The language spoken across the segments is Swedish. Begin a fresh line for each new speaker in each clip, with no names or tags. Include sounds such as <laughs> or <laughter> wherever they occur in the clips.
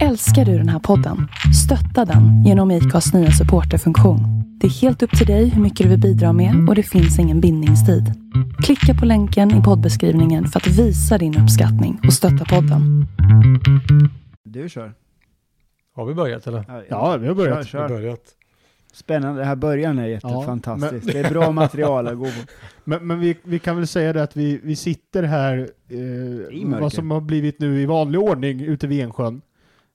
Älskar du den här podden? Stötta den genom IKAs nya supporterfunktion. Det är helt upp till dig hur mycket du vill bidra med och det finns ingen bindningstid. Klicka på länken i poddbeskrivningen för att visa din uppskattning och stötta podden.
Du kör.
Har vi börjat eller?
Ja, vi har börjat.
Kör,
Vi
kör.
har börjat.
Spännande, det här början är jättefantastiskt. Det är bra material att gå på.
Men, men vi, vi kan väl säga det att vi, vi sitter här,
I
eh,
mörker.
vad som har blivit nu i vanlig ordning, ute vid Ensjön.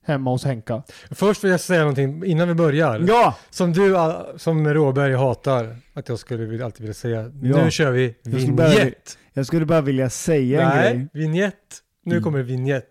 Hemma hos Henka.
Först vill jag säga någonting innan vi börjar.
Ja!
<laughs>
Som du, ah, som Råberg hatar att jag skulle vilja- alltid vilja säga.
Ja.
Nu kör vi
Jag skulle börja-
vignett.
Jag skulle bara vilja säga en
Nej,
grej.
vignett. Nu
Mm.
kommer vignett.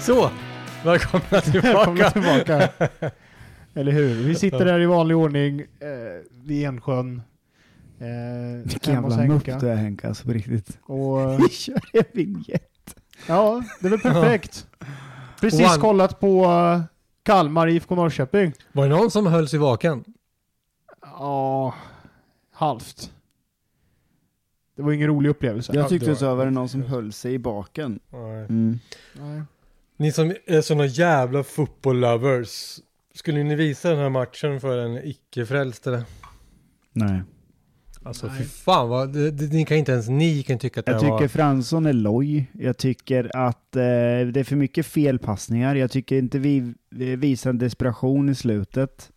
Så,
<laughs>
välkomna tillbaka.
Välkomna tillbaka. Eller hur? Vi sitter här i vanlig ordning eh, vid Ensjön. Eh,
Vilken
hemma hos
jävla mupp
Henka.
du är Henka, alltså på riktigt.
Och, eh,
Vi <laughs> kör en vignett.
ja, det är väl perfekt. Precis
One.
kollat på eh, Kalmar IFK Norrköping.
Var det någon som höll sig vaken?
Ja, halvt. Det var ingen rolig upplevelse.
Ja,
Jag tyckte
det
du
var-
sa, var det någon som höll sig i baken?
Nej.
Mm.
Nej.
Ni som är såna jävla football-lovers. Skulle ni visa den här matchen för en icke-frälst eller?
Nej.
Alltså
Nej.
fy fan vad, det, det, ni kan inte ens ni kan tycka att det
Jag
här var...
tycker Fransson är loj. Jag tycker att eh, det är för mycket felpassningar. Jag tycker inte vi vi visar en desperation i slutet.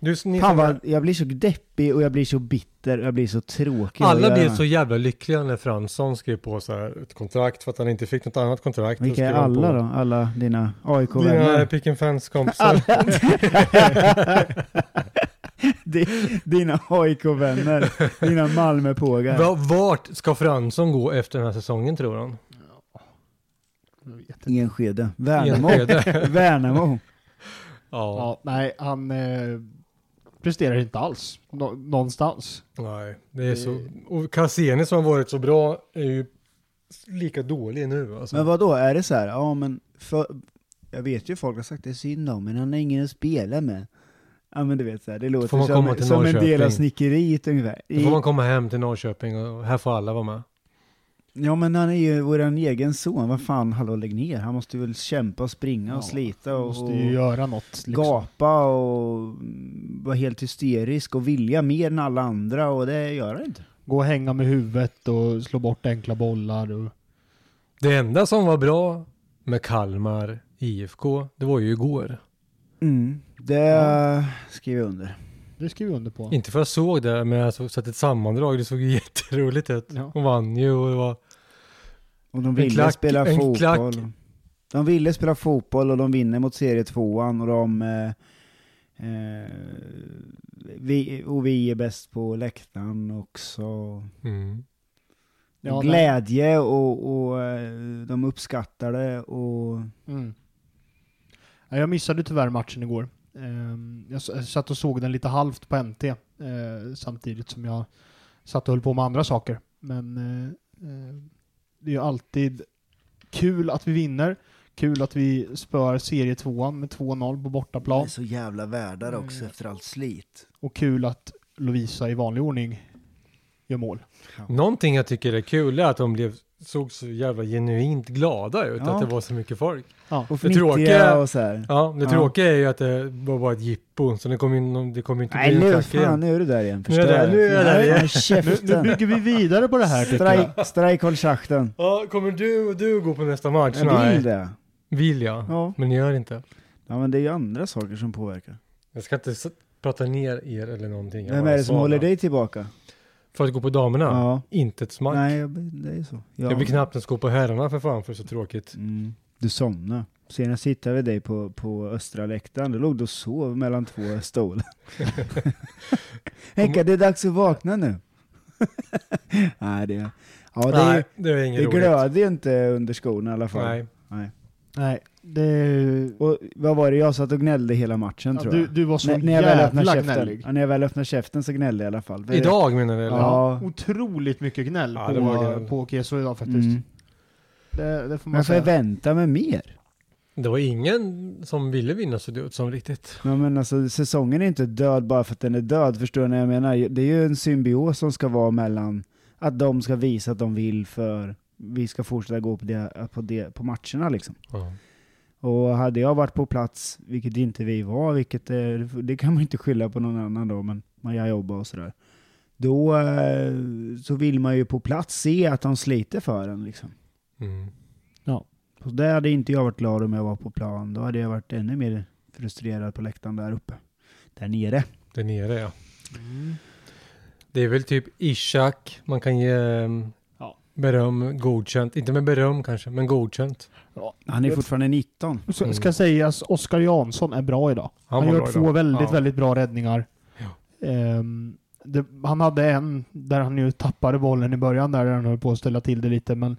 Du, ni
Fan
som-
vad, jag blir så deppig och jag blir så bitter och jag blir så tråkig. att
Alla
göra
blev
med.
så jävla lyckliga när Fransson skrev på så här ett kontrakt för att han inte fick något annat kontrakt. Då
Vilka är
skrev han
alla
på-
då? Alla dina
Dina
AIK-vänner?
Picken Fans kompisar.
<laughs> Di- Dina AIK-vänner? Dina Malmöpågar?
Va- Vart ska Fransson gå efter den här säsongen tror han?
Jag vet inte.
Enskede?
I en
Värnamo?
skede.
<laughs> Värnamo?
ja.
Ja, nej, han eh, presterar inte alls. Nå- någonstans.
Nej, det är så. Och Cassini som har varit så bra är ju lika dålig nu alltså.
Men vad då är det så här, ja men för, jag vet ju folk har sagt det är synd om, men han har ingen att spela med. Ja men du vet så här, det låter
Får man komma
som,
till
som en del av
Norrköping?
snickeriet ungefär.
Då
I,
får man komma hem till Norrköping och här får alla vara med.
Ja men han är ju våran egen son, vad fan, hallå lägg ner. Han måste väl kämpa och springa
Ja,
och slita
Han
och,
måste
och
ju göra något. Liksom.
gapa och mm, vara helt hysterisk och vilja mer än alla andra och det gör han inte.
Gå och hänga med huvudet och slå bort enkla bollar. Och...
Det enda som var bra med Kalmar IFK, det var ju igår.
Det skriver jag under.
Det skriver jag under på.
Inte för jag såg det, men jag såg sett ett sammandrag. Det såg ju jätteroligt ut.
Ja.
De vann ju och det var...
Och de ville
klack,
spela
en
fotboll.
klack.
De ville spela fotboll och de vinner mot serietvåan och de... Eh, eh, vi, och vi är bäst på läktaren också.
Mm.
Ja,
och
nej.
glädje och, och eh, de uppskattar det och...
Mm. Ja, Jag missade tyvärr matchen igår. Ehm, Jag s- jag satt och såg den lite halvt på NT eh, samtidigt som jag satt och höll på med andra saker. Men eh, eh, det är ju alltid kul att vi vinner. Kul att vi spöar serietvåan med 2-0 på bortaplan.
så jävla värdar
också Mm.
efter allt slit.
Och kul att Lovisa i vanlig ordning gör mål.
Någonting jag tycker är kul är att de blev, såg så jävla genuint glada ut.
Ja.
Att det var så mycket folk.
Ja.
Och
Det
fnittriga
tråkiga-
och så här.
Ja, det
Ja.
tråkiga är ju att det var bara ett jippo. Så det kommer ju det kom ju inte
Nej
bli en
nu,
klack
fan,
igen.
nu är du där igen.
Nu är jag där,
Förstör
nu är jag där
Nej,
igen.
håll
Nu, nu
Käften.
bygger vi vidare på det här tycker jag.
Strike, strike håll schakten.
Ja, kommer du, du gå på nästa match?
Jag vill det.
Vill jag.
Ja.
Men jag gör inte.
Ja men det är ju andra saker som påverkar.
Jag ska inte s- prata ner er eller någonting. Jag
Vem
bara
är det som
sa
håller
det.
dig tillbaka?
För att gå på damerna?
Ja.
Inte ett smack.
Nej, jag- det är så. Ja.
Jag vill knappt ens gå på herrarna för fan för det är så tråkigt.
Mm. Du somnar. Senast hittade vi dig på, på östra läktaren, du låg du och sov mellan två
<laughs>
stolar. Henka, det är dags att vakna nu. <laughs> Nej, det, ja, det,
Nej,
är-
det är inget
det
roligt.
glöder ju inte under skorna i alla fall.
Nej.
Nej, det...
Och vad var det, jag satt och gnällde hela matchen
Ja,
tror
du,
jag.
du var så
När- när, jag väl öppnade
jävla
käften,
gnällig.
ja, när jag väl öppnade käften så gnällde jag i alla fall. För det-
Idag menar du? eller?
Ja.
Otroligt mycket gnäll
Ja,
på,
det var gnäll.
på Keso idag faktiskt.
Mm.
Det, det får man
Men
säga.
förvänta mig mer.
Det var ingen som ville vinna så dumt som riktigt.
Ja, men alltså, säsongen är inte död bara för att den är död, förstår ni vad jag menar? Det är ju en symbios som ska vara mellan att de ska visa att de vill för vi ska fortsätta gå på, det, på, det, på matcherna liksom.
Ja.
Och hade jag varit på plats, vilket inte vi var, vilket eh, det kan man inte skylla på någon annan då, men man jag jobbar och sådär. Då eh, så vill man ju på plats se att de sliter för en liksom.
Mm.
Så där hade inte jag varit glad om jag var på plan. Då hade jag varit ännu mer frustrerad på läktaren där uppe. Där nere.
Där nere ja.
Mm.
Det är väl typ Ishak man kan ge ehm,
Ja.
beröm, godkänt. Inte med beröm kanske, men godkänt.
Ja.
Han är fortfarande 19.
Mm. Så
Mm.
ska sägas, Oskar Jansson är bra idag. Han,
var
gör
bra
två
idag.
väldigt,
Ja.
väldigt bra räddningar.
Ja.
Ehm, det, han hade en där han ju tappade bollen i början där, där han höll på att ställa till det lite. Men,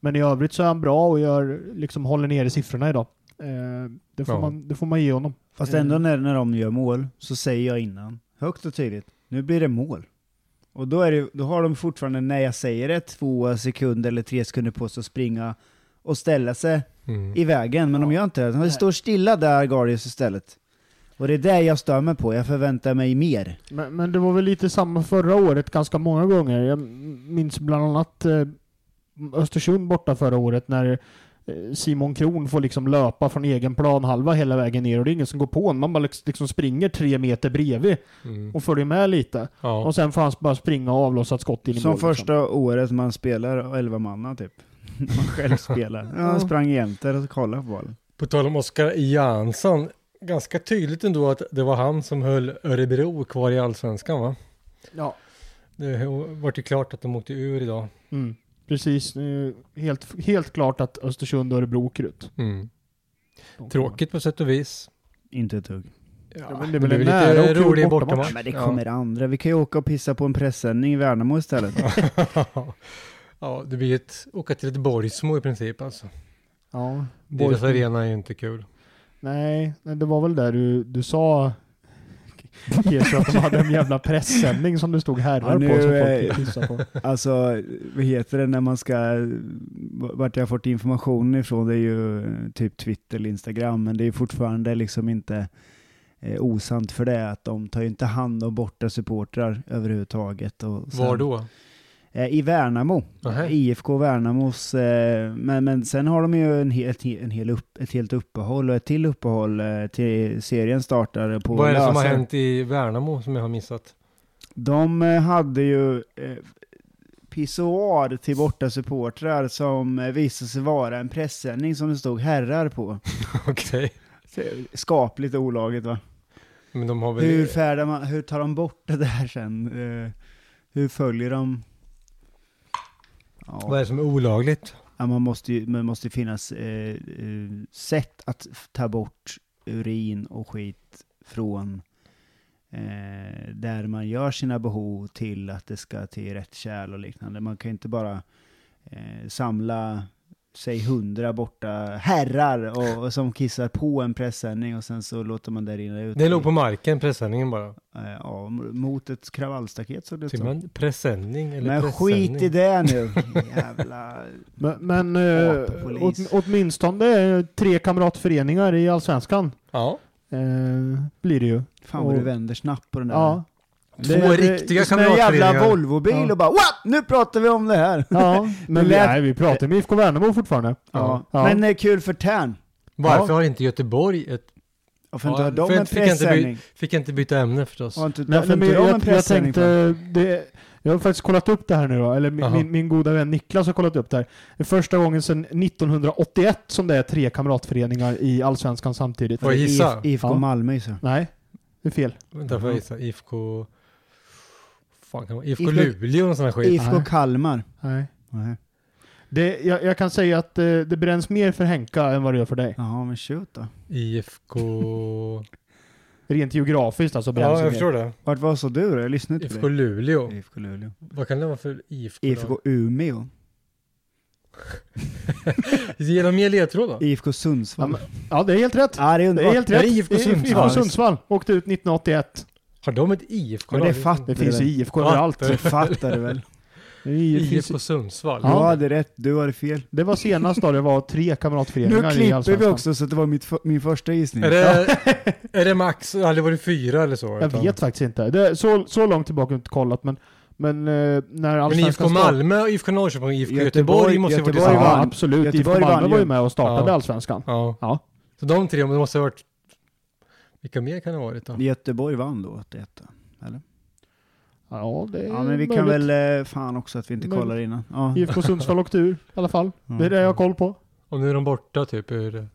men i övrigt så är han bra och gör, liksom, håller nere siffrorna idag. Ehm, det, får
Ja.
man, det får man ge honom.
Fast ändå när, när de gör mål så säger jag innan, högt och tydligt, nu blir det mål. Och då, är det, då har de fortfarande, när jag säger det, två sekunder eller tre sekunder på sig att springa och ställa sig
Mm.
i vägen. Men de gör inte det. De står stilla där, Guardians istället. Och det är det jag stör mig på. Jag förväntar mig mer.
Men, men det var väl lite samma förra året ganska många gånger. Jag minns bland annat eh, Östersund borta förra året när eh, Simon Kron får liksom löpa från egen plan halva hela vägen ner och det är ingen som går på honom. Man bara lex- liksom springer tre meter bredvid
Mm.
och följer med lite.
Ja.
Och sen får han bara springa och avlossa ett skott in i
Som
mål. Liksom.
första året man spelar 11 manna typ. Man själv spelar. Ja, han sprang jämte och kollade på bollen.
På tal om Oskar Jansson. Ganska tydligt ändå att det var han som höll Örebro kvar i allsvenskan va?
Ja.
Det vart ju klart att de åkte ur idag.
Mm. Precis. Nu, Helt, helt klart att Östersund och Örebro åker ut.
Mm.
De
Tråkigt på sätt och vis.
Inte ett tugg.
Ja, men det är väl en nära och
lite
kul
rolig
bortamatch.
bortamatch.
Ja, men det kommer andra. Vi kan ju åka och pissa på en pressändning i Värnamo istället.
Ja. <laughs> ja, det blir ett åka till ett Borgsmo i princip alltså.
Ja.
Deras arena är ju inte kul.
Nej, nej, det var väl där du, du sa <laughs> Kesho att de hade en jävla pressändning som du stod herrar
Ja, nu,
på som folk
eh,
fick pissa på.
Alltså, vad heter det när man ska... Vart jag har fått information ifrån, det är ju eh, typ Twitter eller Instagram, men det är fortfarande liksom inte eh, osant för det att de tar ju inte hand om borta supportrar överhuvudtaget. Och sen-
Var då?
Eh, I Värnamo.
Nähä.
IFK Värnamos. Eh, men, men sen har de ju en hel, en hel upp, ett helt uppehåll och ett till uppehåll eh, till serien startar på
Vad är det som har
Lösen.
hänt i Värnamo som jag har missat?
De eh, hade ju eh, pissoar till borta supportrar som eh, visade sig vara en pressändning som det stod herrar på.
Okej.
Skapligt och olagligt va?
Men de har väl...
Hur, färdar man, hur tar de bort det där sen? Eh, hur följer de? Ja.
Vad är det som är olagligt?
Ja, man måste ju man måste ju finnas eh, eh, sätt att f- ta bort urin och skit från eh, där man gör sina behov till att det ska till rätt kärl och liknande. Man kan ju inte bara eh, samla säg hundra borta herrar och, och som kissar på en pressändning och sen så låter man det rinna ut.
Det låg på marken, pressändningen bara.
eh, ja, mot ett kravallstaket såg det ut
Säger
som.
man presenning Typ eller
Men
presenning?
skit i det nu! Jävla...
Men, men eh,
Appolis.
åt, åtminstone eh, tre kamratföreningar i Allsvenskan
Ja.
eh, blir det ju.
Fan vad du
Och-
vänder snabbt på den där.
Ja,
Två
Det- det-
riktiga
som en jävla
kamratföreningar.
Volvobil
Ja.
och bara What? Nu pratar vi om det här! <laughs>
ja men vi,
lät-
nej, vi pratar med IFK Värnamo fortfarande.
Ja.
Ja.
Men det är kul för Tern.
Varför
Ja.
har inte Göteborg ett...
Varför
Ja,
inte har de
för-
en
fick jag inte by-
pressändning?
Fick jag inte byta ämne förstås.
Har inte-
Nej,
Varför
nej, men
inte de en
jag, jag
pressändning? för?
tänkte, det, jag har faktiskt kollat upp det här nu då, eller min,
Aha.
min, min goda vän Niklas har kollat upp det här. Det är första gången sedan 1981 som det är tre kamratföreningar i Allsvenskan samtidigt.
Får jag gissa?
IF- IFK
Ja.
Malmö så.
Nej, det är fel.
Vänta, får jag gissa? IFK... Fan kan det vara? IFK
IFK
Luleå och sån här skit.
IFK Kalmar.
Nej.
Nej.
Det, jag, jag kan säga att eh, det bränns mer för Henka än vad det gör för dig.
Jaha, men shoot då.
IFK...
Rent geografiskt alltså bränns
ja,
det mer.
jag förstår det.
Vart var så du då? Jag lyssnade inte
IFK
på
Luleå.
dig. IFK Luleå.
Vad kan det vara för IFK?
IFK Umeå.
Ge dem mer ledtrådar.
IFK Sundsvall.
Ja, Ja, det är helt rätt.
Ja, det är
Det är helt
underbart.
Ja,
rätt.
det är IFK
Det är
Sundsvall.
IFK Sundsvall. Åkte ut 1981.
Har de ett IFK?
Men det fattar
Det
du
finns ju
väl?
IFK
Ja,
överallt.
Det fattar du väl?
Det är- det finns-
IFK Sundsvall.
Du
Ja.
hade rätt, du hade fel.
Det var senast då det
<laughs>
var tre
Nu
kamratföreningar i
klipper vi
Allsvenskan.
också så att det var mitt, f- min första gissning.
Är det,
<laughs>
är det max, eller var det fyra eller så?
Jag vet faktiskt inte. Det är så, så långt tillbaka har jag inte kollat men, men eh, när
Men
Allsvenskan
IFK
startade-
Malmö, IFK Norrköping och IFK Göteborg,
Göteborg-
måste ju varit
Göteborg
tillsammans.
Ja,
vann.
absolut.
Göteborg
IFK Malmö
vann
var ju
ju.
med och startade
Ja.
Allsvenskan.
Ja.
Ja.
Så de tre, men det måste ha varit... Vilka mer kan det ha varit då?
Göteborg vann då, 81. Eller?
Ja, det är
Ja, men vi kan
möjligt.
väl, eh, fan också att vi inte
Möjligt.
kollar innan. Ja.
IFK Sundsvall åkte ur i alla fall.
Ja.
Det är det jag har koll på.
Och nu är de borta typ ur...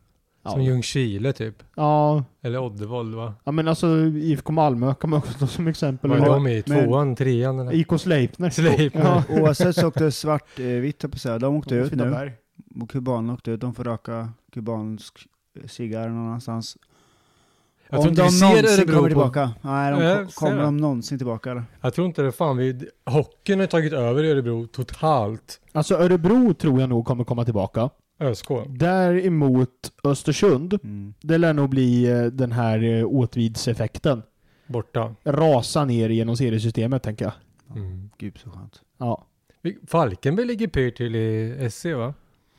Ja.
Som Ljungskile typ.
Ja,
Eller Oddevold va?
ja men alltså IFK Malmö kan man också ta som exempel.
Var är
Eller
de i?
men-
Tvåan, trean eller? <laughs>
IK Sleipner.
Sleipner.
Ja.
Oavsett så åkte svartvitt, eh, på säga. De åkte ut nu.
Åtvidaberg.
Och kubanerna åkte ut. De får röka kubansk eh, cigarr någon annanstans.
Jag
Om
tror inte
de
vi ser
någonsin
Örebro
kommer
på...
tillbaka. Nej,
Nej,
de,
jag
ko-
ser
kommer
det.
de någonsin tillbaka? Eller?
Jag tror inte det. Fan, vi... Hockeyn har tagit över i Örebro totalt.
Alltså Örebro tror jag nog kommer komma tillbaka.
ÖSK.
Däremot Östersund,
Mm.
det lär nog bli eh, den här eh, åtvidseffekten.
Borta.
Rasa ner genom seriesystemet tänker jag.
Mm.
Gud så skönt.
Ja.
Vi- Falkenberg ligger pyrt till i SC va?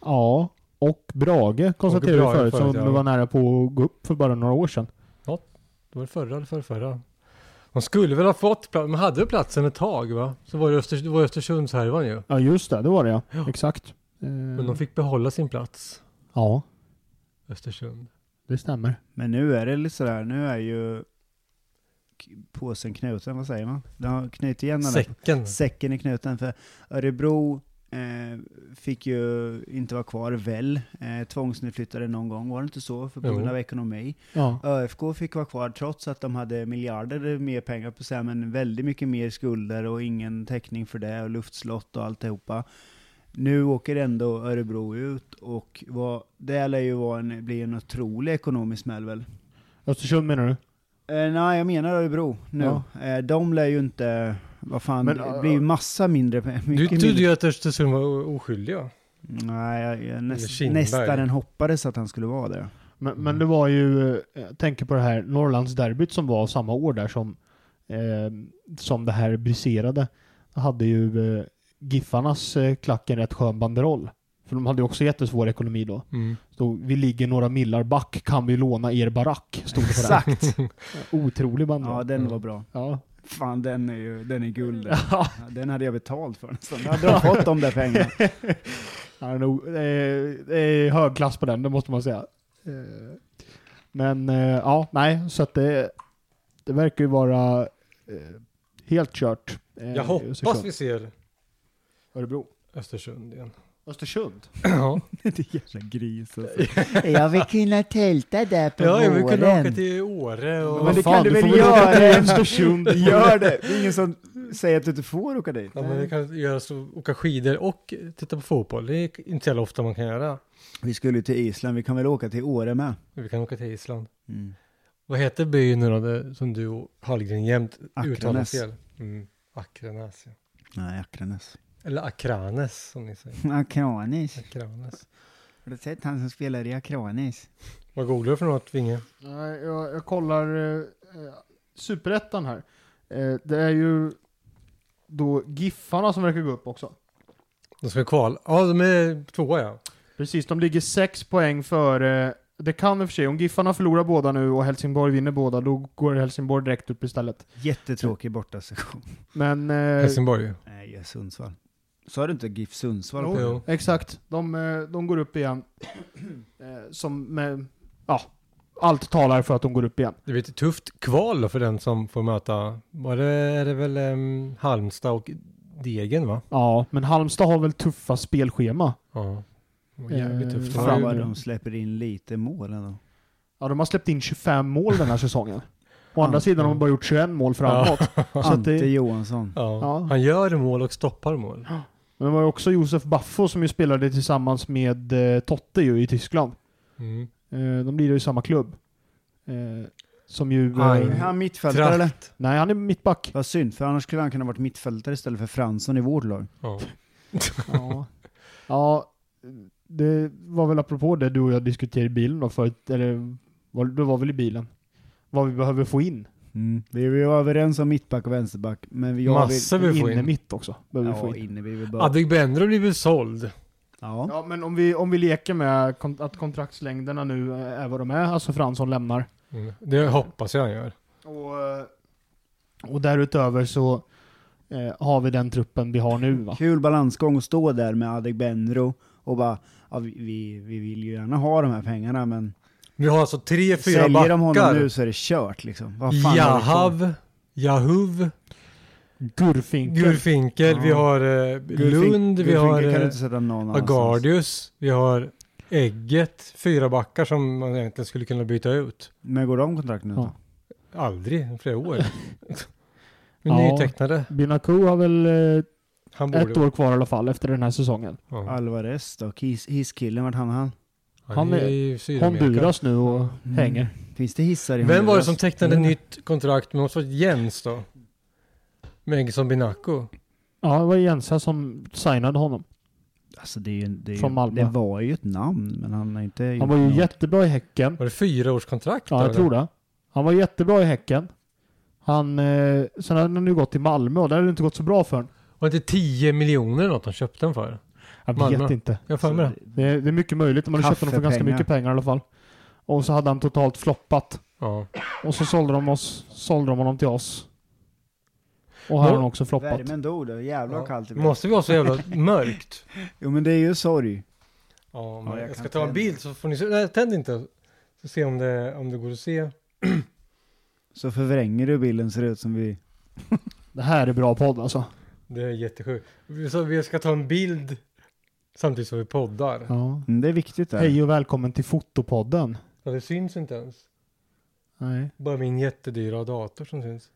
Ja, och Brage konstaterade vi
Brage
förut som
förut, ja.
var nära på att gå upp för bara några år sedan.
Det var det förra eller förra, förra. De skulle väl ha fått plats, de hade platsen ett tag va? Så var det, Östers, det var Östersundshärvan ju.
Ja just det, det var det ja.
Ja.
Exakt. Eh,
Men
Mm.
de fick behålla sin plats,
Ja,
Östersund.
det stämmer.
Men nu är det lite sådär, nu är ju k- påsen knuten, vad säger man? Den har knutit igen den där
Säcken.
säcken i knuten. För Örebro eh, fick ju inte vara kvar väl. Eh, tvångsnedflyttade någon gång, var det inte så? För på
Jo.
grund av ekonomi.
Ja.
ÖFK fick vara kvar trots att de hade miljarder mer pengar på sig, men väldigt mycket mer skulder och ingen täckning för det och luftslott och alltihopa. Nu åker ändå Örebro ut och vad, det lär ju vara en, bli en otrolig ekonomisk smäll väl?
Östersund menar du?
Eh, nej, jag menar Örebro nu. Eh, de lär ju inte... Vad fan,
Men,
det
eh,
blir ju massa mindre... pe-
Du
Mycket
trodde
mindre.
ju att Östersund var o- oskyldiga.
Nej, jag, jag
Eller
näst,
Kindberg.
nästan en hoppades att han skulle vara det.
Men,
Mm.
men det var ju, eh, jag tänker på det här Norrlandsderbyt som var samma år där som, eh, som det här briserade. Då hade ju eh, Giffarnas eh, klack en rätt skön banderoll. För de hade ju också jättesvår ekonomi då.
Mm.
Så vi ligger några millar back, kan vi låna er barack? Stod det på
<laughs>
den.
Exakt!
Otrolig banderoll.
Ja, den var bra.
Ja.
Fan, den är ju den är guld. den. Ja, den hade jag betalt för nästan. Då hade de fått de där pengarna.
<laughs> Ja, det är nog- det är- det är hög klass på den, det måste man säga. Eh, Men eh, ja, nej, så att det, det verkar ju vara eh, helt kört. eh,
Jag
i
hoppas
Östersund.
vi ser
Örebro.
<clears throat>
Östersund igen.
Östersund?
Ja,
<laughs> det är jävla gris <laughs> alltså. Jag vill kunna tälta där på
ja vi kunde åka
våren.
till Åre och...
Men det
Fan,
kan du
du
väl
får väl åka
göra? <laughs>
till Östersund.
Gör det! Det är ingen som säger att du inte får åka dit.
Ja, men vi kan göra så, åka skidor och titta på fotboll. Det är inte så jävla ofta man kan göra.
Vi skulle ju till Island, vi kan väl åka till Åre med? Mm.
Vi kan åka till Island. Vad heter byn nu då, det- som du och Hallgren jämt uttalar
Akranäs.
fel? Mm. Akranäs, ja.
Nej, Akranes.
Eller Akranes som ni säger.
Akranis.
Akranes.
Har du sett han som spelar i Akranis?
Vad googlar du för något, Vinge?
Nej, jag, jag kollar eh, eh, superettan här. Eh, det är ju då Giffarna som verkar gå upp också.
De ska kval. Ja, de är tvåa ja.
Precis, de ligger sex poäng före. Det kan i och för sig, om Giffarna förlorar båda nu och Helsingborg vinner båda, då går Helsingborg direkt upp istället.
Jättetråkig bortasession.
Men eh,
Helsingborg. ju.
Nej, Sundsvall. Sa du inte GIF Sundsvall?
Jo.
på?
Jo.
exakt, de, eh, de går upp igen. Eh, som med, ja, allt talar för att de går upp igen.
Det blir ett tufft kval då för den som får möta, var det, är det väl um, Halmstad och Degen va?
Ja, men Halmstad har väl tuffa spelschema.
Ja. Det var Jävligt
Eh,
tufft.
Fan
Fram-
vad de släpper in lite mål ändå.
Ja, de har släppt in 25 mål den här säsongen. Å andra sidan har de bara gjort 21 mål
Ja.
framåt. Så att
Ante
det,
Johansson.
Ja.
Ja.
Han gör mål och stoppar mål.
Men det var ju också Josef Baffo som ju spelade tillsammans med eh, Totte ju i Tyskland.
Mm.
Eh, de lirar ju i samma klubb. Eh, som ju...
Aj,
eh,
är han mittfältare eller?
nej, han
<laughs>
är mittback.
Vad synd, för annars skulle han kunna varit mittfältare istället för Fransson i vårt lag.
Ja.
ja. ja, det var väl apropå det du och jag diskuterade i bilen då förut, eller var, det var väl i bilen. Vad vi behöver få in.
Vi vi var överens om mittback och vänsterback, men jag
Massa vill få
Inne
in.
mitt också. Behöver vi få
Ja,
in.
Inneby bara...
Adegbenro har blivit såld.
Ja.
Ja, men om vi, om vi leker med kon- att kontraktslängderna nu är vad de är, alltså Fransson lämnar.
Mm. Det hoppas jag han gör.
Och, eh, och därutöver så eh, har vi den truppen vi har nu va?
Kul balansgång att stå där med Adegbenro och bara, ja, vi, vi, vi vill ju gärna ha de här pengarna men
Vi har alltså tre, fyra
säljer de honom nu
backar.
så är det kört liksom. Vad fan har vi kvar?
Jahav, Jahuv,
Gurfinkel.
Gurfinkel, vi
Ja.
har eh,
Gurfink-
Lund, vi
Gurfinkel
har
kan du
eh,
inte sätta någon annanstans.
Agardius, vi har Ägget, fyra backar som man egentligen skulle kunna byta ut.
Men går de kontrakt nu då?
Ja.
Aldrig,
<laughs>
flera år. Men
Ja.
Nytecknade.
Binako har väl eh,
Han
ett
borde...
år kvar i alla fall efter den här säsongen.
Ja.
Alvarez då? His, hisskillen, vart hamnade han?
Han är i Sydamerika.
Honduras nu och
Mm.
hänger.
Finns det hissar i
Vem var det
Honduras?
som tecknade
Mm.
nytt kontrakt? Men måste vara Jens då? Med Engelsson Binaco.
Ja, det var Jensa som signade honom.
Alltså det, är ju, det, är
Från
ju,
Malmö.
det var ju ett namn, men han har inte gjort
Han var ju
något.
jättebra i Häcken.
Var det fyraårskontrakt?
Ja, jag
eller?
tror det. Han var jättebra i Häcken. Han, eh, sen hade han nu gått till Malmö och där hade det inte gått så bra för honom.
Var det inte 10 miljoner något de köpte den för?
Jag
Malmö.
vet inte.
Jag har för mig det.
Så
Det är, det är mycket möjligt. De hade köpt honom för ganska
Kaffepengar.
mycket pengar i alla fall. Och så hade han totalt floppat.
Ja.
Och så sålde de, oss, sålde de honom till oss. Och här har
Nå-
han också floppat.
Värmen dog då, jävlar vad kallt det blev.
Måste vi ha så jävla <laughs> mörkt?
Jo men det är ju sorg.
Ja,
Ja,
men
jag
jag ska
kan
ta en
tända.
bild så får ni se. Nej, tänd inte. Så se om det, om det går att se.
Så förvränger du bilden så det ser ut som vi...
Det här är bra podd alltså.
Det är jättesjukt. Vi- Så vi ska ta en bild samtidigt som vi poddar.
Ja.
Mm, det är viktigt där.
Hej <laughs> och välkommen till Fotopodden.
Ja, det syns inte ens.
Nej.
Bara min jättedyra dator som syns.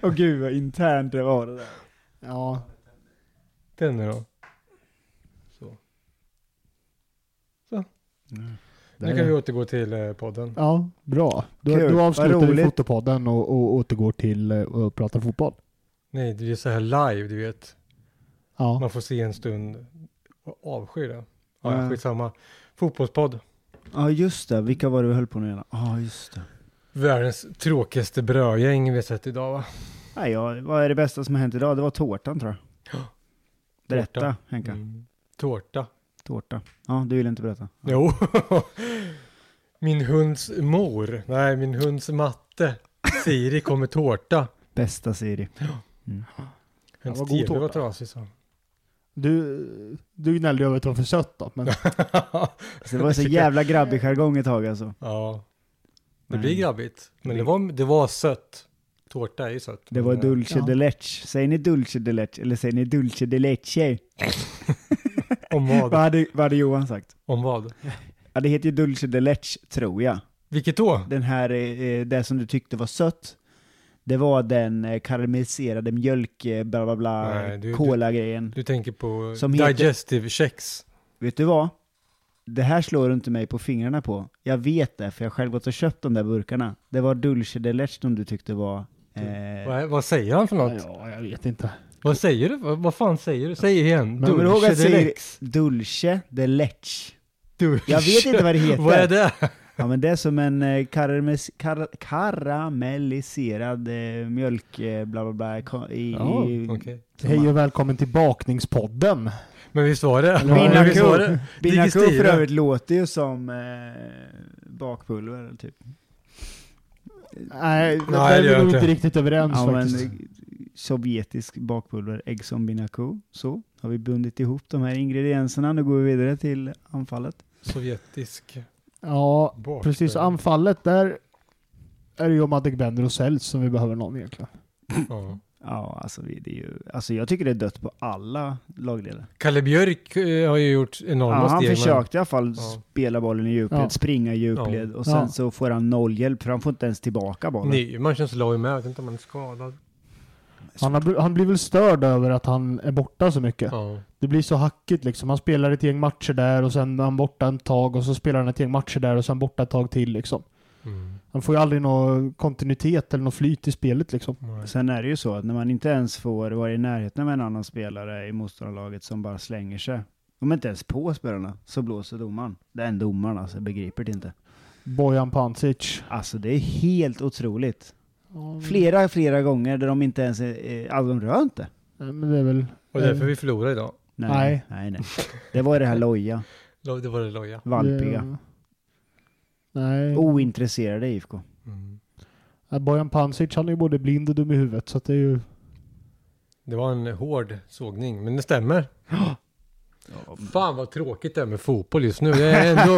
<laughs> Åh gud vad internt det var det där.
Ja,
Den nu då. Så.
Mm.
Nu kan vi återgå till eh, podden.
ja bra. Då,
Kul.
då
Vad
avslutar vi
roligt.
Fotopodden och, och återgår till eh, att prata fotboll.
Nej, det är så här live, du vet.
Ja.
Man får se en stund och avskyr det. Ja,
Mm.
skitsamma. Fotbollspodd.
Ja just det, vilka var det vi höll på nu igen? Ja just det.
Världens tråkigaste brödgäng vi har sett idag va?
Nej, ja, vad är det bästa som har hänt idag? Det var tårtan tror jag. Berätta
Tårta.
Henka.
Mm. Tårta.
Tårta. Ja, du vill inte berätta. Ja.
Jo. <laughs> min hunds mor. Nej, min hunds matte. Siri kom med tårta.
Bästa Siri.
Hennes
Ja, vad god
tv var
tårta.
trasig så.
Du, du gnällde ju över att det var för sött då, men
Alltså, det var
<laughs>
så jävla grabbig jargong ett tag alltså.
<laughs> ja. Det
Nej.
blir grabbigt. Men det var, det var sött. Tårta är ju sött.
Det var
Men, eh,
dulce
Ja.
de leche. Säger ni dulce de leche eller säger ni dulce de leche?
eh, Om
<laughs>
vad?
Vad hade, vad hade Johan sagt?
Om vad?
Ja, det heter ju dulce de leche, tror jag.
Vilket då?
Den här, eh, det som du tyckte var sött, det var den eh, karamelliserade mjölk, eh, bla bla bla,
Nej, du-
cola-grejen.
Du tänker på
Som heter-
digestive checks.
Vet du vad? Det här slår du inte mig på fingrarna på. Jag vet det, för jag har själv gått och köpt de där burkarna. Det var dulce de leche som du tyckte var... Eh,
Vad, vad säger han för något?
ja, jag vet inte.
Vad säger du? Vad, vad fan säger du? Säg igen.
kommer du ihåg
Dulce
att säga-
deluxe.
dulce de leche.
Dulce.
Jag
<laughs>
vet inte vad det heter.
Vad är det? <laughs>
Ja men det är som en eh, karames- kar- karamelliserad eh, mjölk, eh, bla bla bla, ko- i...
Ja,
i
Okej.
Hej och välkommen till Bakningspodden.
Men visst var det?
Eller vad-
visst var det?
Binaco
Digestive.
för övrigt låter ju som eh, bakpulver typ.
Nej,
det
där är
gör
vi
jag
nog inte
inte.
riktigt överens
Ja, men,
faktiskt.
eh, sovjetisk bakpulver, ägg som binaco. Så, har vi bundit ihop de här ingredienserna. Nu går vi vidare till anfallet.
Sovjetisk
Ja,
bak.
precis. Anfallet, där är det ju om Adegbenro och Sells som vi behöver någon egentligen.
Ja.
Ja, alltså, vi, det är ju, alltså jag tycker det är dött på alla lagledare.
Kalle Björk eh, har ju gjort
Ja,
enorma
han
steg. men-
försökte i alla fall
Ja.
spela bollen i djupled,
Ja.
springa i djupled och sen
Ja.
så får han noll hjälp för han får inte ens tillbaka bollen.
Nyman känns loj med. Jag vet inte om han är skadad.
Han, har, bl- han blir väl störd över att han är borta så mycket.
Ja.
Det blir så hackigt liksom. Han spelar ett gäng matcher där och sen är han borta ett tag och så spelar han ett gäng matcher där och sen borta ett tag till liksom.
Mm.
Han får ju aldrig någon kontinuitet eller något flyt i spelet liksom.
Nej.
Sen är det ju så att när man inte ens får vara i närheten av en annan spelare i motståndarlaget som bara slänger sig, om inte ens på spelarna, så blåser domaren. Den domaren alltså, jag begriper det inte.
Bojan Pancic.
Alltså det är helt otroligt. Flera, flera gånger där de inte ens, eh, alltså de rör inte.
Nej, men det är väl...
Och
eh,
därför vi förlorade idag.
Nej,
Nej.
nej, nej. Det var det här loja,
Lo- Det var det loja.
valpiga,
det- Nej.
Oh. ointresserade IFK.
Mm.
Ja, Bojan Pancic han är ju både blind och dum i huvudet så att det är ju...
Det var en hård sågning, men det stämmer. Fan vad tråkigt det är med fotboll just nu. Jag är
<laughs>
ändå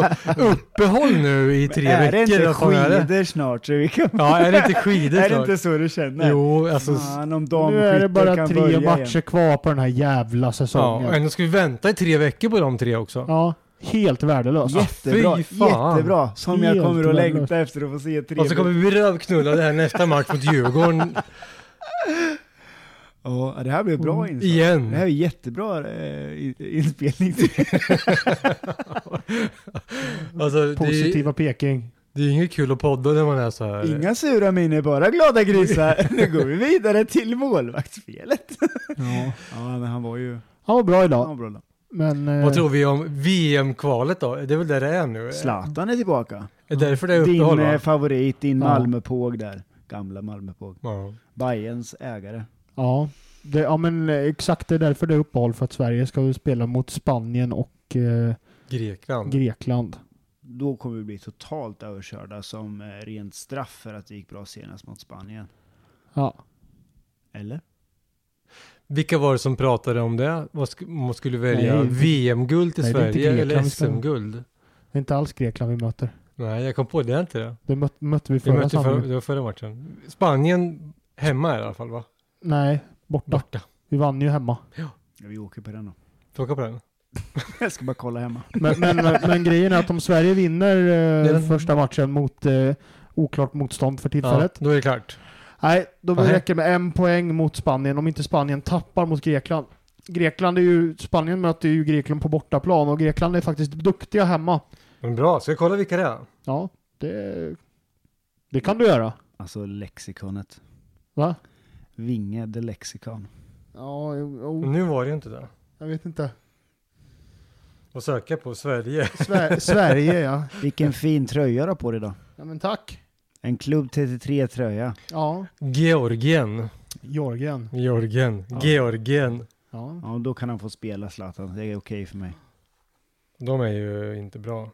uppehåll nu i tre
är det
veckor.
inte
Vad fan är det?
skidor snart så vi kan...
Ja, är det
<laughs>
inte skidor
Är det
snart?
inte så du känner?
Jo, alltså.
Fan, om
Nu är det
damskytte
bara
kan
tre
börja
matcher
igen.
kvar på den här jävla
Ja, och
säsongen.
ändå ska vi vänta i tre veckor på de tre också.
Ja, helt värdelöst.
Jättebra,
Fy fan.
jättebra. Som jag
Helt
kommer att
värdelöst.
längta efter att få se tre.
Och så kommer vi bli rövknullade här nästa
<laughs>
match mot Djurgården
Ja, det här blir bra insats.
Liksom.
Det här
Mm. igen.
är jättebra eh, i- inspelning.
<laughs> Alltså, det, är,
Positiva Peking.
det är inget kul att podda när man är så här.
Inga sura miner, bara glada
<laughs>
grisar. Nu går vi vidare till målvaktsfelet.
Ja.
Ja, men han var ju...
Han var bra idag,
Han var bra.
men... eh,
Vad tror vi om VM-kvalet då? Det är väl där det är nu?
Zlatan är tillbaka.
Är det därför det är
Din
uppehåll
eh,
va?
favorit, din
Ja.
Malmöpåg där. Gamla Malmöpåg.
Ja.
Bayerns ägare.
Ja, det, ja men eh, exakt det är därför det är uppehåll för att Sverige ska väl spela mot Spanien och eh,
Grekland.
Grekland.
Då kommer vi bli totalt överkörda som eh, rent straff för att det gick bra senast mot Spanien.
Ja.
Eller?
Vilka var det som pratade om det? Vad sk- om man skulle välja
Nej.
VM-guld till
Nej, det är inte
Sverige eller
Grekland vi ska-
SM-guld?
Det är inte alls Grekland vi möter.
Nej, jag kom på det, är inte det.
Det möt, mötte vi
Vi
förra
mötte för,
samlingen.
det var förra matchen. Spanien hemma i alla fall va?
Nej, borta.
Borta.
Vi vann ju hemma.
Ja, vi åker på den då. <laughs>
Får jag åka på den?
Jag ska bara kolla hemma.
Men, men, men, men grejen är att om Sverige vinner eh,
Den-
första matchen mot eh, oklart motstånd för tillfället.
då är det klart.
Nej, då
Nej.
räcker det med en poäng mot Spanien om inte Spanien tappar mot Grekland. Grekland är ju, Spanien möter ju Grekland på bortaplan och Grekland är faktiskt duktiga hemma.
Men bra, ska jag kolla vilka det är?
Ja, det, det kan du göra.
Alltså lexikonet.
Va?
Vinge the lexikon.
Ja, jo, jo,
Nu var det ju inte det.
jag vet inte.
Och söka på Sverige.
<laughs> Sver- Sverige ja.
Vilken fin tröja du har på dig idag.
ja. men tack.
En klubb 33-tröja.
Ja,
<laughs> Georgien.
Jorgen.
Georgien.
Ja.
Georgien.
Ja.
Ja, då kan han få spela Zlatan. Det är okej för mig.
De är ju inte bra.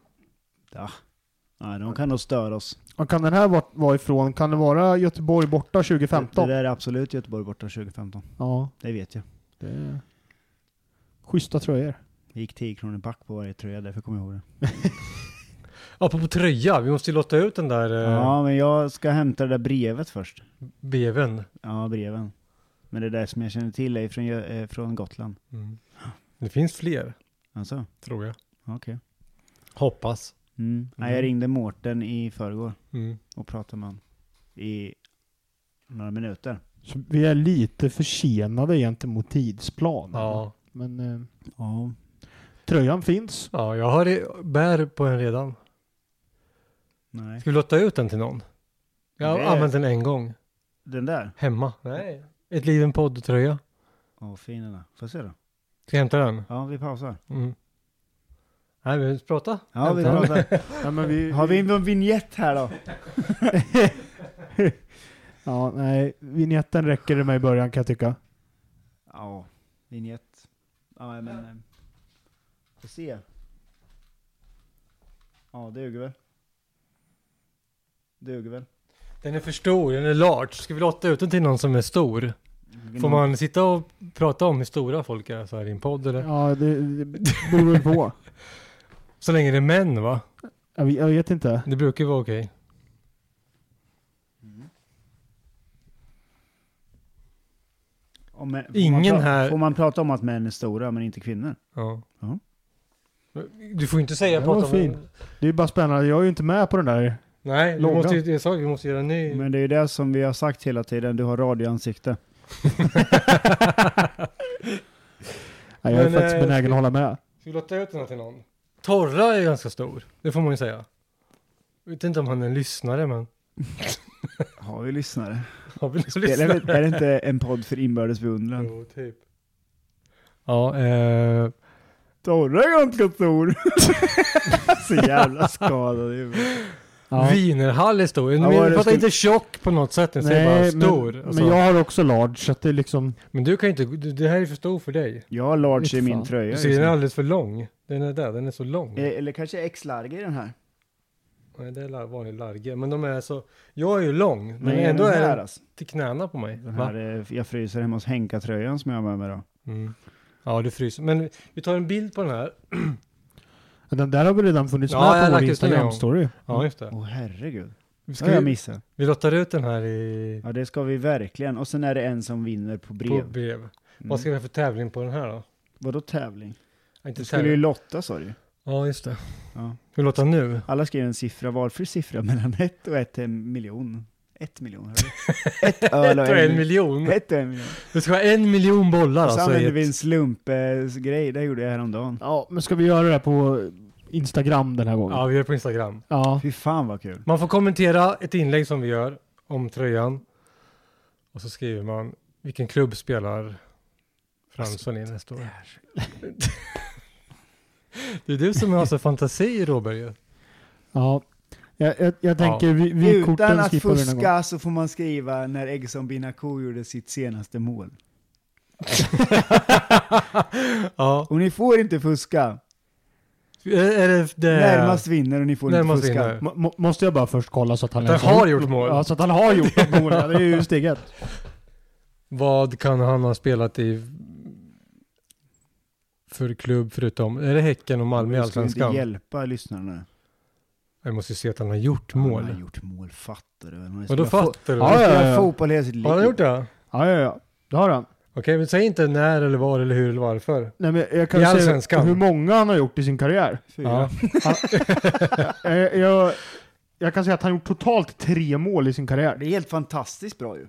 Nej, de kan nog störa oss.
Och kan den här vara- vara ifrån? Kan det vara Göteborg borta
Det,
2015?
det där är absolut Göteborg borta 2015.
Ja,
Det vet jag.
det är... Schyssta tröjor.
Det gick 10 kronor back på varje tröja, därför kommer jag ihåg det.
Apropå tröja, vi måste ju låta ut den där eh,
Ja, men jag ska hämta det där brevet först.
beven.
Ja, breven. Men det där som jag känner till är från, Gö- eh, från Gotland.
Mm. Det finns fler,
Alltså,
tror jag.
okej.
Hoppas.
Mm. Nej, jag ringde Mårten i förrgår
Mm.
och pratade med honom i några minuter.
Så vi är lite försenade gentemot tidsplanen.
Ja.
Men eh,
Ja.
tröjan finns.
ja, jag har i- bär på en redan.
Nej.
Ska vi låta ut den till någon? Jag har
Det-
använt den en gång.
Den där?
Hemma. Nej. Ett liven podd-tröja.
Åh, fin den där. Får jag se då?
Ska jag hämta den?
Ja, vi pausar.
Mm. Nej, vi prata.
Ja, vi
Hämta den.
<laughs> pausar.
Ja, men vi,
Har vi någon vignett här då?
<laughs> ja, nej, vignetten räcker det med i början kan jag tycka.
Ja, vignett. Ja, men... eh, Får se. Ja, det duger väl. Duger väl.
Den är för stor, den är large. Ska vi låta ut den till någon som är stor? Får man sitta och prata om hur stora folk är så här i en podd eller?
Ja, det, det beror väl på.
Så länge det är män va?
Jag, vet- jag vet inte.
Det brukar ju vara okej.
Om, män- får
Ingen
man pra-
här-
Får man prata om att män är stora men inte kvinnor?
Ja.
Ja.
Men Du får inte säga
Den
prata
var
om...
fin. Det är ju bara spännande. Jag är ju inte med på den där.
Nej, vi
Loggan.
måste, ju- jag sa ju, vi måste göra en ny.
Men det är ju det som vi har sagt hela tiden, du har radioansikte.
Nej, jag är
Men,
faktiskt
eh,
benägen
ska-
att hålla med.
<laughs> Ska vi låta ut den här till någon? Torra är ganska stor, det får man ju säga. Jag vet inte om han är en lyssnare, men...
Har vi lyssnare?
Har vi någon
Är
lyssnare?
<laughs> det, är det inte en podd för inbördes beundran?
Jo, typ. Ja, eh...
Torre är ganska stor. <laughs> Så jävla skadad i huvudet.
Ja.
Wienerhall är stor.
Ja,
men
vad är
jag
det
pratar
skulle-
inte tjock på något sätt, jag säger bara stor.
men,
Men, alltså.
men
men,
jag har också large, så att det är liksom...
du kan ju inte, du- det här är för stor för dig.
Jag har large
Inte
i min
fan.
tröja.
Du
just
ser, den är
nu.
alldeles för lång. Den är där, den är så lång.
Eh, Eller kanske X-large i den här.
Nej, det är la- vanlig large. Men de är så, jag är ju lång, men
Nej,
ändå
den
är
här,
den
alltså.
till knäna på mig.
Den
Va?
här eh, jag fryser hemma hos Henka-tröjan som jag har med mig då.
Mm. Ja, du fryser. Men vi tar en bild på den här.
Mm.
Den där har väl redan funnits
Ja, jag
med
har
på vår
lagt ut den en gång.
Instagram-story.
Ja, just det.
Åh herregud.
Vi,
Ska jag
ska, vi,
missa?
vi lottar ut den här i
Ja det ska vi verkligen. Och sen är det en som vinner på brev. Mm.
brev. På brev. Vad ska vi ha för tävling på den här då?
Vadå tävling?
Ja, Inte
Du skulle ju
tävling.
lotta sa du
Ja, just det.
ja.
Vi lottar nu.
Alla skrev en siffra, valfri siffra mellan <laughs> ett och ett en miljon. Ett miljon, hörde du? Ett
<laughs>
öl och
Och en
en miljon.
miljon.
Ett och en miljon.
Vi ska ha en miljon bollar
Och så
Mm. alltså.
använde
i ett-
vi en slumpgrej, det gjorde jag häromdagen.
Ja, men ska vi göra det här på Instagram den här gången?
Ja, vi gör det på Instagram.
Ja.
Fy fan vad kul.
Man får kommentera ett inlägg som vi gör om tröjan. Och så skriver man vilken klubb spelar Fransson i nästa år. Det är du som har så fantasi
<laughs>
Robert ju.
ja. Jag, jag, jag tänker vi, vi
Utan
korten
att
skippar vi den här gången.
fuska så får man skriva när Eggson Binako gjorde sitt senaste mål.
ja.
Och ni får inte fuska.
Är är det, det
Närmast vinner och ni får
Eh, Närmast
inte fuska.
vinner.
Må- må- Måste jag bara först kolla så att han
Att han
ens
har gjort mål.
Ja, så att han har gjort något mål. Ja, det är ju steg ett.
Vad kan han ha spelat i för klubb förutom, är det Häcken och Malmö i
Vi ska inte
Allsvenskan?
hjälpa lyssnarna.
Jag måste ju se att han har gjort
Han har
mål.
gjort mål, fattar du? Han har
Och då
spelat
fattar du?
fo- Han
Har
Ja,
har
ja,
spelat
ja.
fotboll hela sitt liv.
han gjort det?
Ja, ja, ja. Det har han.
Okej, men säg inte när eller var eller hur eller varför.
Nej, men jag kan
I
säga
Allsvenskan.
hur många han har gjort i sin karriär.
Fyra.
Ja.
<laughs> Eh, jag, jag kan säga att han har gjort totalt tre mål i sin karriär.
Det är helt fantastiskt bra ju.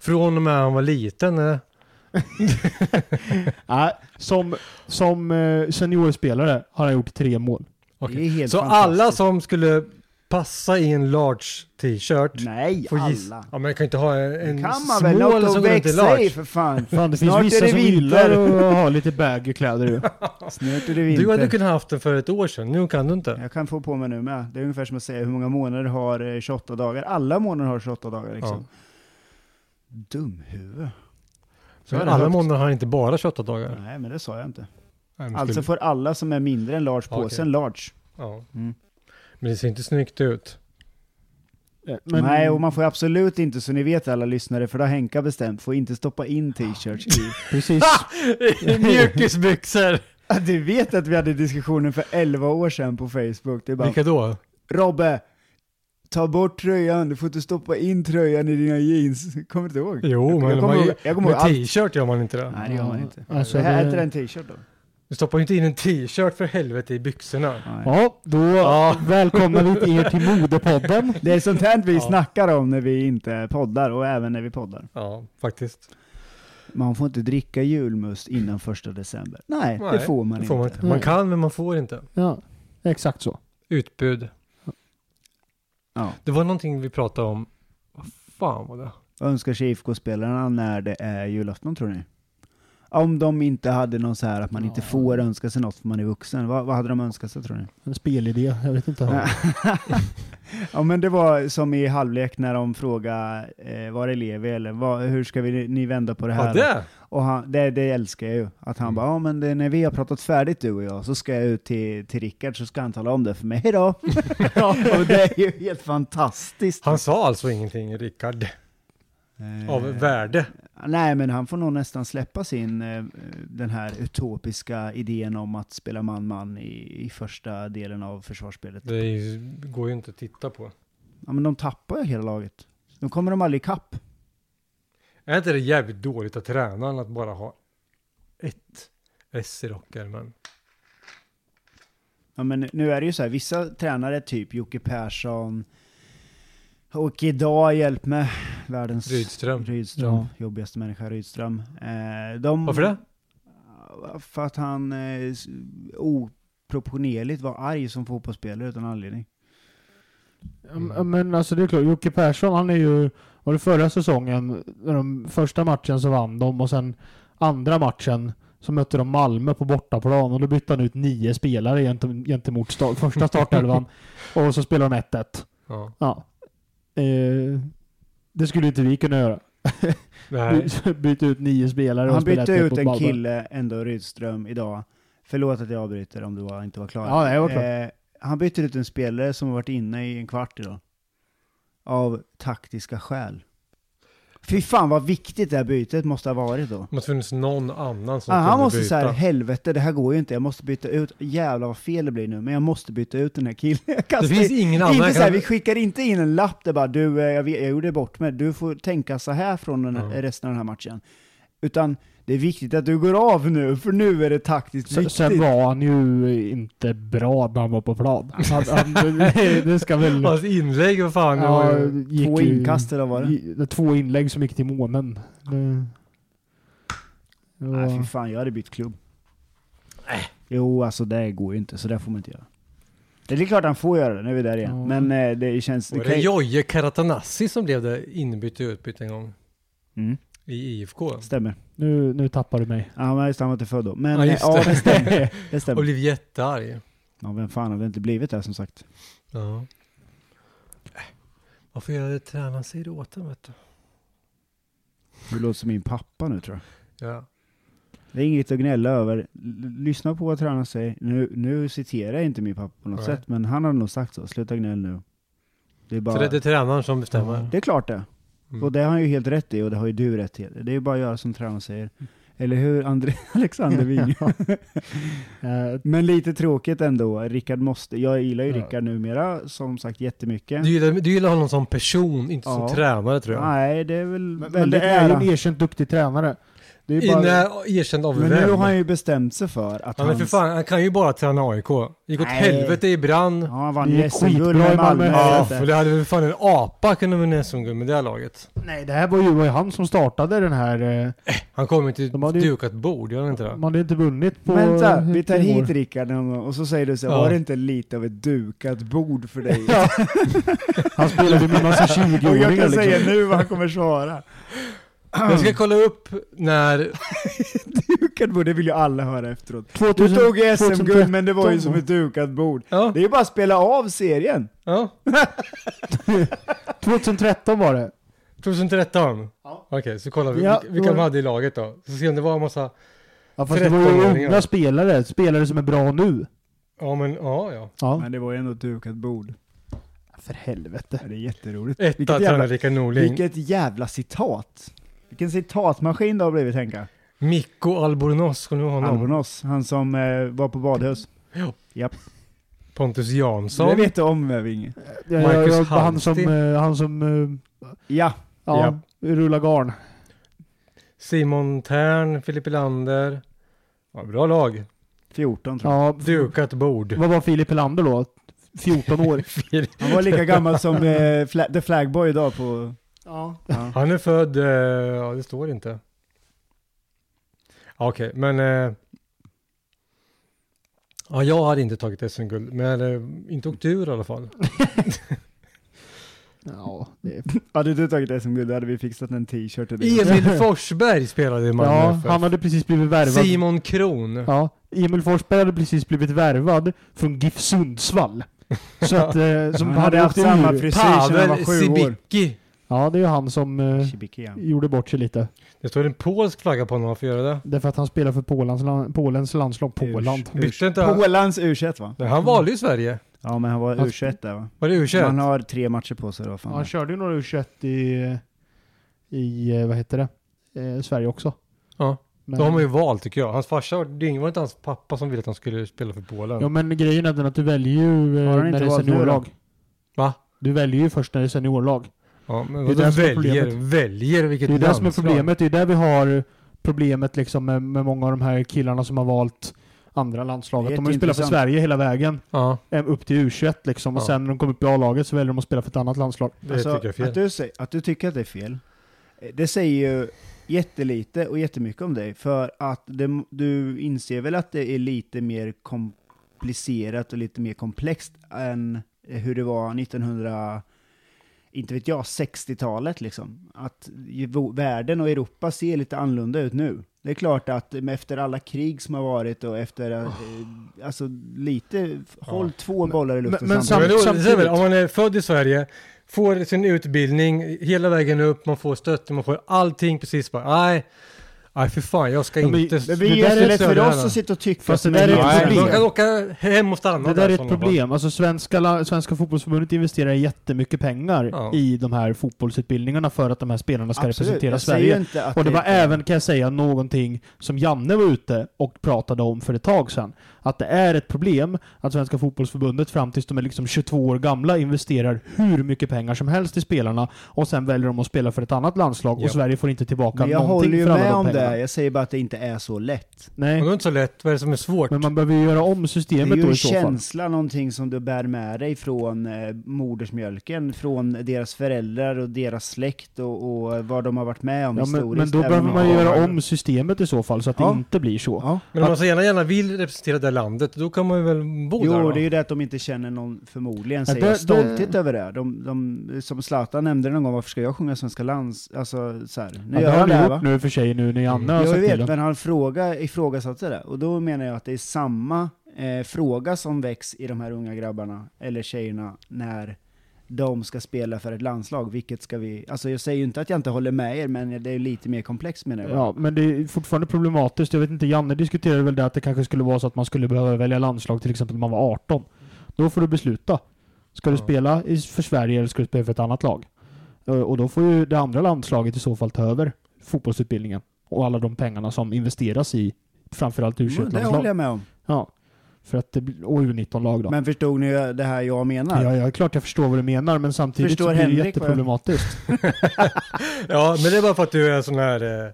Från och med han var liten. eh.
Nej, Eh, som som eh, seniorspelare har han gjort tre mål.
Okej.
Det är helt
Så
fantastiskt.
alla som skulle passa i en large t-shirt
Nej,
får gissa.
alla.
Ja, men jag kan inte ha en
kan man väl?
small
Något
som
att
går runt i
växa i
large.
för fan.
<laughs>
Fan, det finns
Snart är
vissa
det
som
vinter.
gillar att ha lite baggy
<laughs>
kläder ju.
Snart är det
Du hade
vinter.
kunnat haft den för ett år sedan, nu kan du inte.
Jag kan få på mig nu med. Det är ungefär som att säga hur många månader har eh, 28 dagar? Alla månader har 28 dagar liksom. Dumhuvud.
Så
är det
alla
högt.
månader har inte bara 28 dagar. Nej,
Nej, men det sa jag inte.
men
Alltså
skulle-
får alla som är mindre än large
Okej.
påsen large.
ja.
Mm.
Men det ser inte snyggt ut.
Eh, Men,
Nej, och man får absolut inte, så ni vet alla lyssnare, för det har Henka bestämt, får inte stoppa in t-shirts
<laughs>
i.
precis.
Mjukisbyxor!
Ja, <laughs> Du vet att vi hade diskussionen för 11 år sedan på Facebook. Det är bara,
Vilka då?
Robbe, ta bort tröjan, du får inte stoppa in tröjan i dina jeans. Kommer du inte ihåg?
Jo,
jag,
men
jag kommer
man-
ihåg, jag kommer ihåg
Med
allt.
t-shirt gör man inte det.
Nej, det gör man inte.
Alltså,
Så här
det-
äter en t-shirt då?
Du stoppar ju inte in en t-shirt för helvete i byxorna.
Nej.
Ja, då välkomnar vi er
<laughs>
till Modepodden.
Det är sånt här vi
Ja.
snackar om när vi inte poddar och även när vi poddar.
Ja, faktiskt.
Man får inte dricka julmust innan första december. Nej, det
Nej,
får man
Det
inte.
får man, inte. man kan, men man får inte.
Ja, exakt så.
Utbud.
Ja.
Det var någonting vi pratade om. Vad fan var det?
Vad önskar sig IFK-spelarna när det är julafton tror ni? Om de inte hade någon så här att man inte
Ja.
får önska sig något för man är vuxen, vad, vad hade de önskat sig tror ni?
En spelidé, jag vet inte.
Ja. <laughs> ja men det var som i halvlek när de frågade, eh, var elev eller vad, hur ska vi, ni vända på det här?
Ja, det! Mm.
Och han, det, det älskar jag ju. Att han bara, ja men det, när vi har pratat färdigt du och jag så ska jag ut till, till Rickard så ska han tala om det för mig. Hejdå! <laughs>
<laughs>
och det är ju helt fantastiskt.
Han sa alltså ingenting, Rickard,
Eh,
av värde.
Nej, men han får nog nästan släppa sin, eh, den här utopiska idén om att spela man-man i, i första delen av försvarsspelet.
Det är ju- går ju inte att titta på.
Ja, men de tappar ju hela laget. Nu kommer de aldrig ikapp.
Är inte det jävligt dåligt av tränaren att bara ha ett S i
Mm.
rockärmen?
Ja, men nu är det ju så här, vissa tränare, typ Jocke Persson, och idag hjälp mig, världens...
Rydström.
Rydström.
Ja.
Jobbigaste människa, Rydström. Eh, de,
Varför det?
För att han eh, s- oproportionerligt var arg som fotbollsspelare utan anledning.
Mm. Ja, Men alltså det är klart, Jocke Persson han är ju, var det förra säsongen, när de första matchen så vann de och sen andra matchen så mötte de Malmö på bortaplan och då bytte han ut nio spelare gentem- gentemot sta-
<laughs>
första startelvan och så spelar de 1-1.
Ja.
Ja. Eh, det skulle inte vi kunna göra.
Mm.
<laughs>
Nej.
By- Byta ut nio spelare och
Han
spela
bytte
1-1
ut
mot
en
Malmö.
kille, ändå Rydström, idag. Förlåt att jag avbryter om du var, inte var klar.
Ja, nej, jag var klar.
Eh, han bytte ut en spelare som har varit inne i en kvart idag. Av taktiska skäl. Fy fan vad viktigt det här bytet måste ha varit då.
Det måste funnits någon annan som
Ah, han
kunde
måste
byta.
så här, helvete det här går ju inte, jag måste byta ut, jävlar vad fel det blir nu, men jag måste byta ut den här killen. Jag
det
kastar-
finns ingen annan.
inte
jag
så här, <laughs>
kan-
vi skickar inte in en lapp där bara du, eh, jag, vet- jag gjorde bort mig, du får tänka så här från den här,
Ja.
resten av den här matchen. Utan det är viktigt att du går av nu, för nu är det taktiskt
Sen,
viktigt.
sen var han ju inte bra när han var
<laughs>
på plan. Han, han, det ska väl...
Hans inlägg, vad fan. det var ju...
gick
Två
ju-
inkast eller vad var det?
i- det? Två inlägg som gick till månen. Det, det var,
Nej fy fan, jag hade bytt klubb. Jo, alltså det går ju inte, så det får man inte göra. Det är klart han får göra det, nu är vi där igen.
Ja.
Men eh, det känns...
Var
kan
det
ju-
Joje Karatanassi som blev det inbytt och utbytt en gång
mm,
i IFK?
stämmer.
nu, nu tappar du mig.
Ja, men just det, han var inte född då. Men
Ja,
eh,
just
ja,
det.
det
<laughs>
stämmer. Det
Och
stämmer.
blev jättearg.
Ja, vem fan har det inte blivit det som sagt?
Ja. Äh, Varför gör det tränaren säger åt en, vet du?
Du låter som min pappa nu tror jag.
Ja.
Det är inget att gnälla över. L- Lyssna på vad tränaren säger. Nu, nu citerar jag inte min pappa på något
Nej.
sätt, men han har nog sagt så. Sluta gnäll nu. Det är, bara,
Så det är det tränaren som bestämmer?
det är klart det.
Mm.
Och det har han ju helt rätt i, och det har ju du rätt i. Det är ju bara att göra som tränaren säger. Eller hur, André <laughs> Alexander Wing? <laughs>
Eh,
men lite tråkigt ändå. Rickard måste... Jag gillar ju
Ja.
Rickard numera, som sagt, jättemycket.
Du, gillar, du gillar honom som person, inte
Ja.
som tränare tror jag.
Nej, det är väl
men, men det
väldigt
är ju en
nära.
erkänt duktig tränare. Det är bara,
Inne, erkänd av
Men
vem?
nu har han ju bestämt sig för att
Ja, men för
hans-
fan, han kan ju bara träna AIK. Gick åt
Nej.
helvete i brand.
Ja, han vann
Det är
ju SM-guld
skitbra i
med
Malmö.
Malmö.
Ja,
så att-
för det hade väl fan en apa kunnat vinna SM-guld med det här laget.
nej, det här var ju, var ju han som startade den här. eh,
Han kom ju till
De
ett
hade ju-
dukat bord, gör han inte det?
Man hade inte vunnit på...
Men så här, vi tar
på
hit
år.
Rickard någon gång och så säger du så här,
Ja.
var det inte lite av ett dukat bord för <laughs> dig?
Ja. Han spelade med en massa
och <laughs> jag
20-åringar
kan
liksom.
säga nu vad han kommer svara.
Jag ska kolla upp när...
<laughs> Dukat bord, det vill ju alla höra efteråt. Du
2000,
tog ju SM-guld men det var ju
2013.
som ett dukat bord.
Ja,
Det är ju bara att spela av serien.
ja.
2013 var det.
2013?
Ja.
Okej, så kollar vi
Ja,
vilka, vilka
då-
de hade i laget då. Så ser vi om det var en massa...
Ja, fast det var ju
13-åringar.
unga spelare. Spelare som är bra nu.
Ja, men ja, ja.
Ja.
Men det var ju ändå ett dukat bord.
För helvete.
Ja, Det är jätteroligt.
Etta
Vilket
tränare
jävla,
Rickard Norling.
vilket jävla citat. Vilken citatmaskin det har blivit Henka.
Mikko Albornoz, kommer du ihåg honom?
Albonos, han som eh, var på badhus.
Pontus
Det
Jansson.
vet du om eh, Vinge.
Ja,
Marcus
ja, ja, han
Hallsten.
som, eh, han som eh,
Ja,
ja, rullar garn.
Simon Tern, Filip Lander. Ja, bra lag.
14 tror jag.
Ja,
Dukat bord.
vad var Filip Helander då? 14 år?
Han var lika gammal som eh, Fla- The Flagboy idag på...
ja.
Ja.
Han är född, eh, ja det står inte. Ja, Okej, men... Eh, ja, jag hade inte tagit SM-guld, men eh, inte åkt ur i alla fall.
<laughs> Ja, det,
Hade du tagit SM-guld då hade vi fixat en t-shirt till dig.
Emil Forsberg spelade i Malmö
ja
FF.
han hade precis blivit värvad.
Simon Kron.
Ja, Emil Forsberg hade precis blivit värvad från
<laughs>
GIF Sundsvall. Så att, eh, som
han
hade
hade haft
åkt ur.
samma frisyr sedan han var
Pavel
sju år.
Sibicki.
Ja, det är ju han som eh,
Shibiki, ja.
gjorde bort sig lite.
Det står en polsk flagga på honom, varför gör det det?
Därför att han spelar för Polens, lan- Polens landslag. Poland.
Usch.
Bytte inte han?
Polans U21 va?
Nej, han valde ju Sverige.
Ja men han var
Han-
U21 där va?
Var det u
Man har tre matcher på sig då. Fan.
Han körde ju några U21 i, eh, i eh, vad heter det, eh, Sverige också.
Ja,
Men,
då har man ju valt tycker jag. Hans farsa var dyng, var det inte hans pappa som ville att han skulle spela för Polen?
Ja men grejen är den att du väljer ju eh,
Har han
när
inte
det är
valt nu då?
seniorlag.
Va?
Du väljer ju först när det är seniorlag.
Ja, men
Det är
vadå
det som är
väljer?
problemet.
Väljer vilket
Det är det som är
landslag?
problemet. Det är där vi har problemet liksom med, med många av de här killarna som har valt andra landslaget. De har ju spelat för
Jätteintressant.
Sverige hela vägen
Ja,
eh, upp till U21 liksom. Och
Ja.
sen när de kommer upp i A-laget så väljer de att spela för ett annat landslag.
det
Alltså,
tycker jag är fel.
Att du, säger, att du tycker att det är fel, eh, Det säger ju jättelite och jättemycket om dig, för att det, du inser väl att det är lite mer komplicerat och lite mer komplext än eh, hur det var 1900, inte vet jag, 60-talet liksom. Att ju- världen och Europa ser lite annorlunda ut nu. Det är klart att eh, efter alla krig som har varit och efter, eh,
Oh.
alltså lite, håll två bollar i luften
men
Ja,
Sam-
men
samtidigt.
då,
samtidigt-
det är väl, om man är född i Sverige, får sin utbildning hela vägen upp, man får stöttning, man får allting precis bara, nej, nej för fan, jag ska
Ja, men-
inte...
Det blir ju jättelätt för oss att sitta och tycka
Fast
att
det där
de
är ett
jävla-
problem.
De kan åka hem och stanna
Det där är
sådana
ett problem. Alltså svenska, la- svenska fotbollsförbundet investerar jättemycket pengar
Ja.
i de här fotbollsutbildningarna för att de här spelarna ska representera
jag säger
Sverige.
inte att
Och det var
är-
även, kan jag säga, någonting som Janne var ute och pratade om för ett tag sedan. Att det är ett problem att Svenska Fotbollsförbundet fram tills de är liksom 22 år gamla investerar hur mycket pengar som helst i spelarna och sen väljer de att spela för ett annat landslag och
Ja.
Sverige får inte tillbaka
Men jag
någonting
håller ju
för alla
med
de
om
pengarna.
det, jag säger bara att det inte är så lätt.
Nej,
Och det är inte så lätt, vad är det som är svårt?
men man behöver ju göra om
Det är
systemet
ju
då
en
i så fall.
känsla, någonting som du bär med dig från eh, modersmjölken, från deras föräldrar och deras släkt och, och vad de har varit med om
Ja, men,
historiskt.
men då
även
behöver
om-
man ju göra om systemet i så fall så att
Ja.
det inte blir så.
Ja.
Men om man så gärna, gärna vill representera det landet, då kan man ju väl bo där
Jo,
då?
det är ju det att de inte känner någon, förmodligen,
Ja,
säger
det-
jag, stolthet över det. De, de, som Zlatan nämnde någon gång, varför ska jag sjunga svenska lands... Alltså, så här. Nu
Ja, det
gör
har
han
ni
det här,
gjort
va? Mm.
nu för sig nu när Janne har
Jag
sagt till
vet,
dem.
men han fråga, ifrågasatte det. Och då menar jag att det är samma eh, fråga som väcks i de här unga grabbarna, eller tjejerna, när de ska spela för ett landslag. Vilket ska vi... Alltså jag säger ju inte att jag inte håller med er, men det är lite mer komplext menar jag.
Ja, men det är fortfarande problematiskt. Jag vet inte, Janne diskuterade väl det att det kanske skulle vara så att man skulle behöva välja landslag till exempel när man var 18. Då får du besluta. Ska du
Ja.
spela i- för Sverige eller ska du spela för ett annat lag? Eh, Och då får ju det andra landslaget i så fall ta över fotbollsutbildningen och alla de pengarna som investeras i framförallt u
Mm, det håller jag med om.
Ja. För att det blir, och U19-lag då.
Men förstod ni det här jag menar?
Ja, ja, klart jag förstår vad du menar, men samtidigt
Förstår
så blir det
Henrik vad jag-
jätteproblematiskt.
Ja, men det är bara för att du är en sån här eh,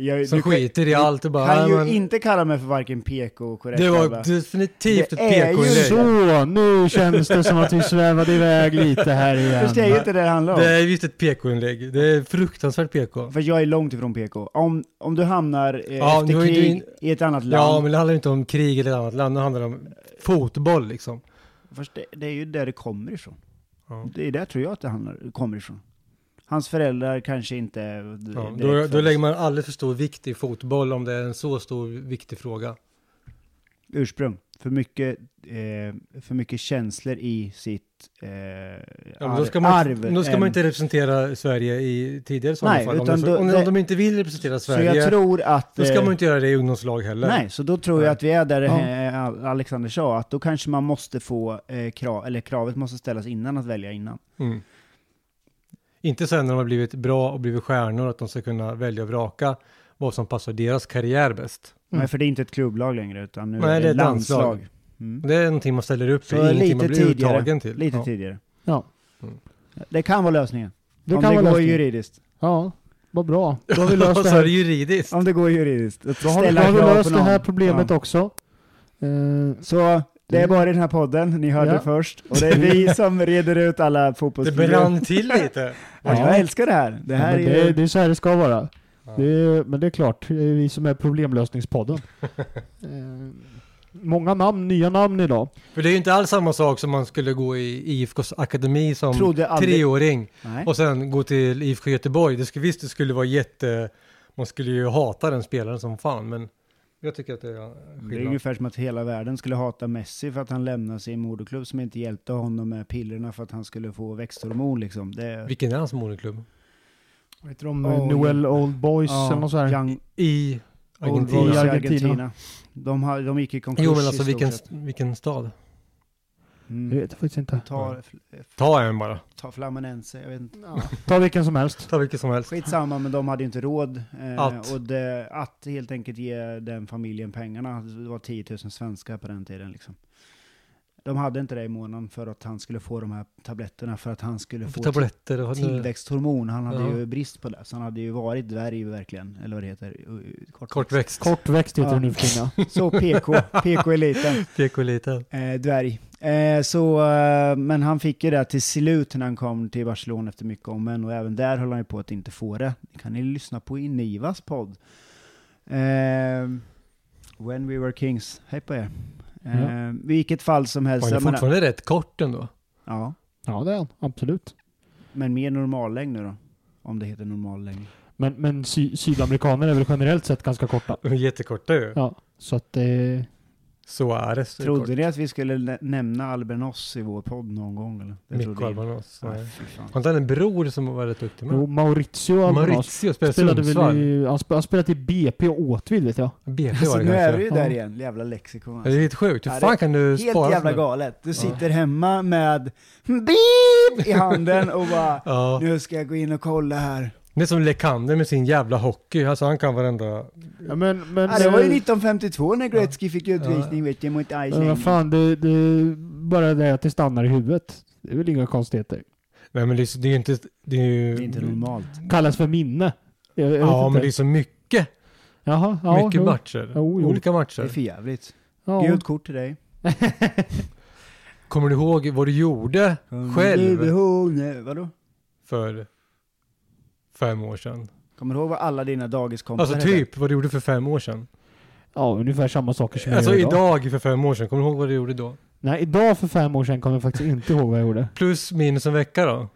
Jag,
som
du kan-
skiter i
du
allt och bara...
kan
nej,
ju
men,
inte kalla mig för varken PK och korrekt.
det
va?
var definitivt ett
Det är ju
PK-inlägg.
Så, nu känns det som att vi svävade iväg lite här igen.
Förstår jag ju inte det det handlar om.
Det är visst ett PK-inlägg. Det är fruktansvärt PK.
För jag är långt ifrån PK. Om, om du hamnar eh,
Ja, nu
efter
har ju du
krig
in-
i ett annat land,
Ja, men det handlar inte om krig eller ett annat land. Det handlar om fotboll liksom.
Fast det, det är ju där det kommer ifrån.
Ja.
Det är där tror jag att det handlar, kommer ifrån. Hans föräldrar kanske inte... eh,
Ja, då, då lägger man alldeles för stor vikt i fotboll om det är en så stor viktig fråga.
Ursprung. För mycket, eh, för mycket känslor i sitt eh,
Ja, men då ska
ar-
man,
arv.
då ska man
än-
inte representera Sverige i tidigare sådana
Nej,
fall. Om,
utan
det,
då-
om,
det-
om de inte vill representera
Så
Sverige,
jag tror att...
då ska
eh,
man inte göra det i ungdomslag heller.
Nej, så då tror
Nej.
jag att vi är där
Ja.
eh, Al- Alexander sa, att då kanske man måste få eh, krav, eller kravet måste ställas innan att välja innan.
Mm. Inte sen när de har blivit bra och blivit stjärnor, att de ska kunna välja och vraka vad som passar deras karriär bäst.
Mm.
Nej, för det är inte ett klubblag längre, utan nu
Nej,
är
det
det
är ett
ett landslag.
landslag.
Mm.
Det är någonting man ställer upp
Så
för, det är ingenting man
lite
blir
tidigare,
uttagen till.
Lite
ja.
tidigare.
Ja.
Mm.
Det kan vara lösningen.
Det
om
kan
det
vara
går
lösningen.
juridiskt.
Ja, vad bra. Då har
<laughs>
vi löst
så
det
är det
här,
juridiskt.
Om det går juridiskt. Att
då har, vi- då
ställa
har vi
krav
löst
på
det här
någon.
problemet
Ja.
också. Eh,
Så det är bara i den här podden, ni hörde
Ja.
det först. Och det är
<laughs>
vi som reder ut alla
Det
fotbollsproblem.
brann till
<laughs>
lite.
Ja,
Ja.
jag älskar det här. Det
det,
här
men
är
det,
ju...
det är så här det ska vara.
Ja.
Det är, men det är klart, det är vi som
<laughs>
är problemlösningspodden. Eh, många namn, nya namn idag.
För det är ju inte alls samma sak som man skulle gå i IFKs akademi som
Trodde aldrig-
treåring
Nej.
och sen gå till IFK Göteborg. Det skulle, visst, det skulle vara jätte... Man skulle ju hata den spelaren som fan, men jag tycker att det är
Det är
skillnad.
ungefär som att hela världen skulle hata Messi för att han lämnade sin moderklubb som inte hjälpte honom med pillerna för att han skulle få växthormon liksom. Det...
Vilken är hans moderklubb?
Vad heter de?
Oj.
Eh, Noel Old Boys
Ja,
eller något sånt här.
Young
I
Old
Argentina.
Boys i
Argentina.
Argentina. De, har, de gick i konkurs
Jo men alltså
i stort
vilken,
sett.
vilken stad?
Jag
Mm.
vet faktiskt inte.
alltså
Ta,
Ta en bara.
ta Flaminense, jag vet inte.
Ta vilken som helst.
Ta vilken som helst.
Skitsamma, men de hade ju inte råd. Eh,
Att.
Och det, att helt enkelt ge den familjen pengarna. Det var 10 000 svenskar på den tiden liksom. De hade inte det i månaden för att han skulle få de här tabletterna, för att han skulle få
Tabletter och...
tillväxthormon. Han hade
Ja.
ju brist på det, så han hade ju varit dvärg verkligen, eller vad det heter. u- u- kortväxt.
Kortväxt.
Kortväxt heter
Ja.
det nu för tiden. ja.
Så
<laughs>
PK, PK-eliten.
Tekoliten.
Eh, dvärg. Eh, så, eh, men han fick ju det till slut när han kom till Barcelona efter mycket om men och även där höll han ju på att inte få det. Det kan ni lyssna på i Nivas podd. Eh, When We Were Kings. Hej på er. Eh, Vilket fall som helst.
Han
Alltså,
är
jag menar-
fortfarande rätt kort ändå.
ja,
Ja, det är han. Absolut.
men mer normallängd nu då. Om det heter normallängd.
Men, men sy- sydamerikaner är väl generellt sett ganska korta.
De är Jättekorta ju.
Ja, så att eh,
Suarez är
Trodde
kort.
ni att vi skulle nä- nämna Albenos i vår podd någon gång? Eller? Det
Mikko
trodde ingen.
Albanos.
Nej,
Nej.
fy fan.
Har inte han en bror som var rätt duktig
jo,
med?
Maurizio Albanas
Maurizio spelade
spelade
Sundsvall.
väl i, han, sp- han spelade i BP och Åtvid vet jag.
<laughs>
BP
Alltså,
var det
nu är du
kanske.
ju där
Ja.
igen, jävla lexikon.
Det
Alltså.
är helt sjukt.
Ja,
Hur fan kan du
Helt
spara
jävla
sådana?
galet. Du sitter hemma med beep i handen och bara
Ja.
nu ska jag gå in och kolla här.
Det är som Lekander med sin jävla hockey. Alltså han kan varenda...
Ja, men, men,
Ja, det var ju
eh,
1952 när Gretzky fick utvisning vet du, mot
men
Iceland.
vad fan, det, det, bara det att det stannar i huvudet. Det är väl inga konstigheter.
Nej men det är, så- det är ju inte... Det är ju...
normalt.
Kallas för minne. Jag,
Ja
jag vet
men
inte.
det är så mycket.
Jaha, ja,
mycket
jo.
matcher.
Jo, jo.
Olika
Det är
matcher.
för jävligt.
Ja.
Gult kort till dig.
Kommer du ihåg vad du gjorde
Du
själv
behov nu. Vadå?
för fem år sedan?
Kommer du ihåg vad alla dina dagiskompisar
Alltså typ vad du gjorde för fem år sedan.
ja, ungefär samma saker som
Alltså
jag gör idag.
idag för fem år sedan. Kommer du ihåg vad du gjorde då?
Nej, idag för fem år sedan kommer jag faktiskt inte ihåg vad jag gjorde.
Plus minus en vecka då?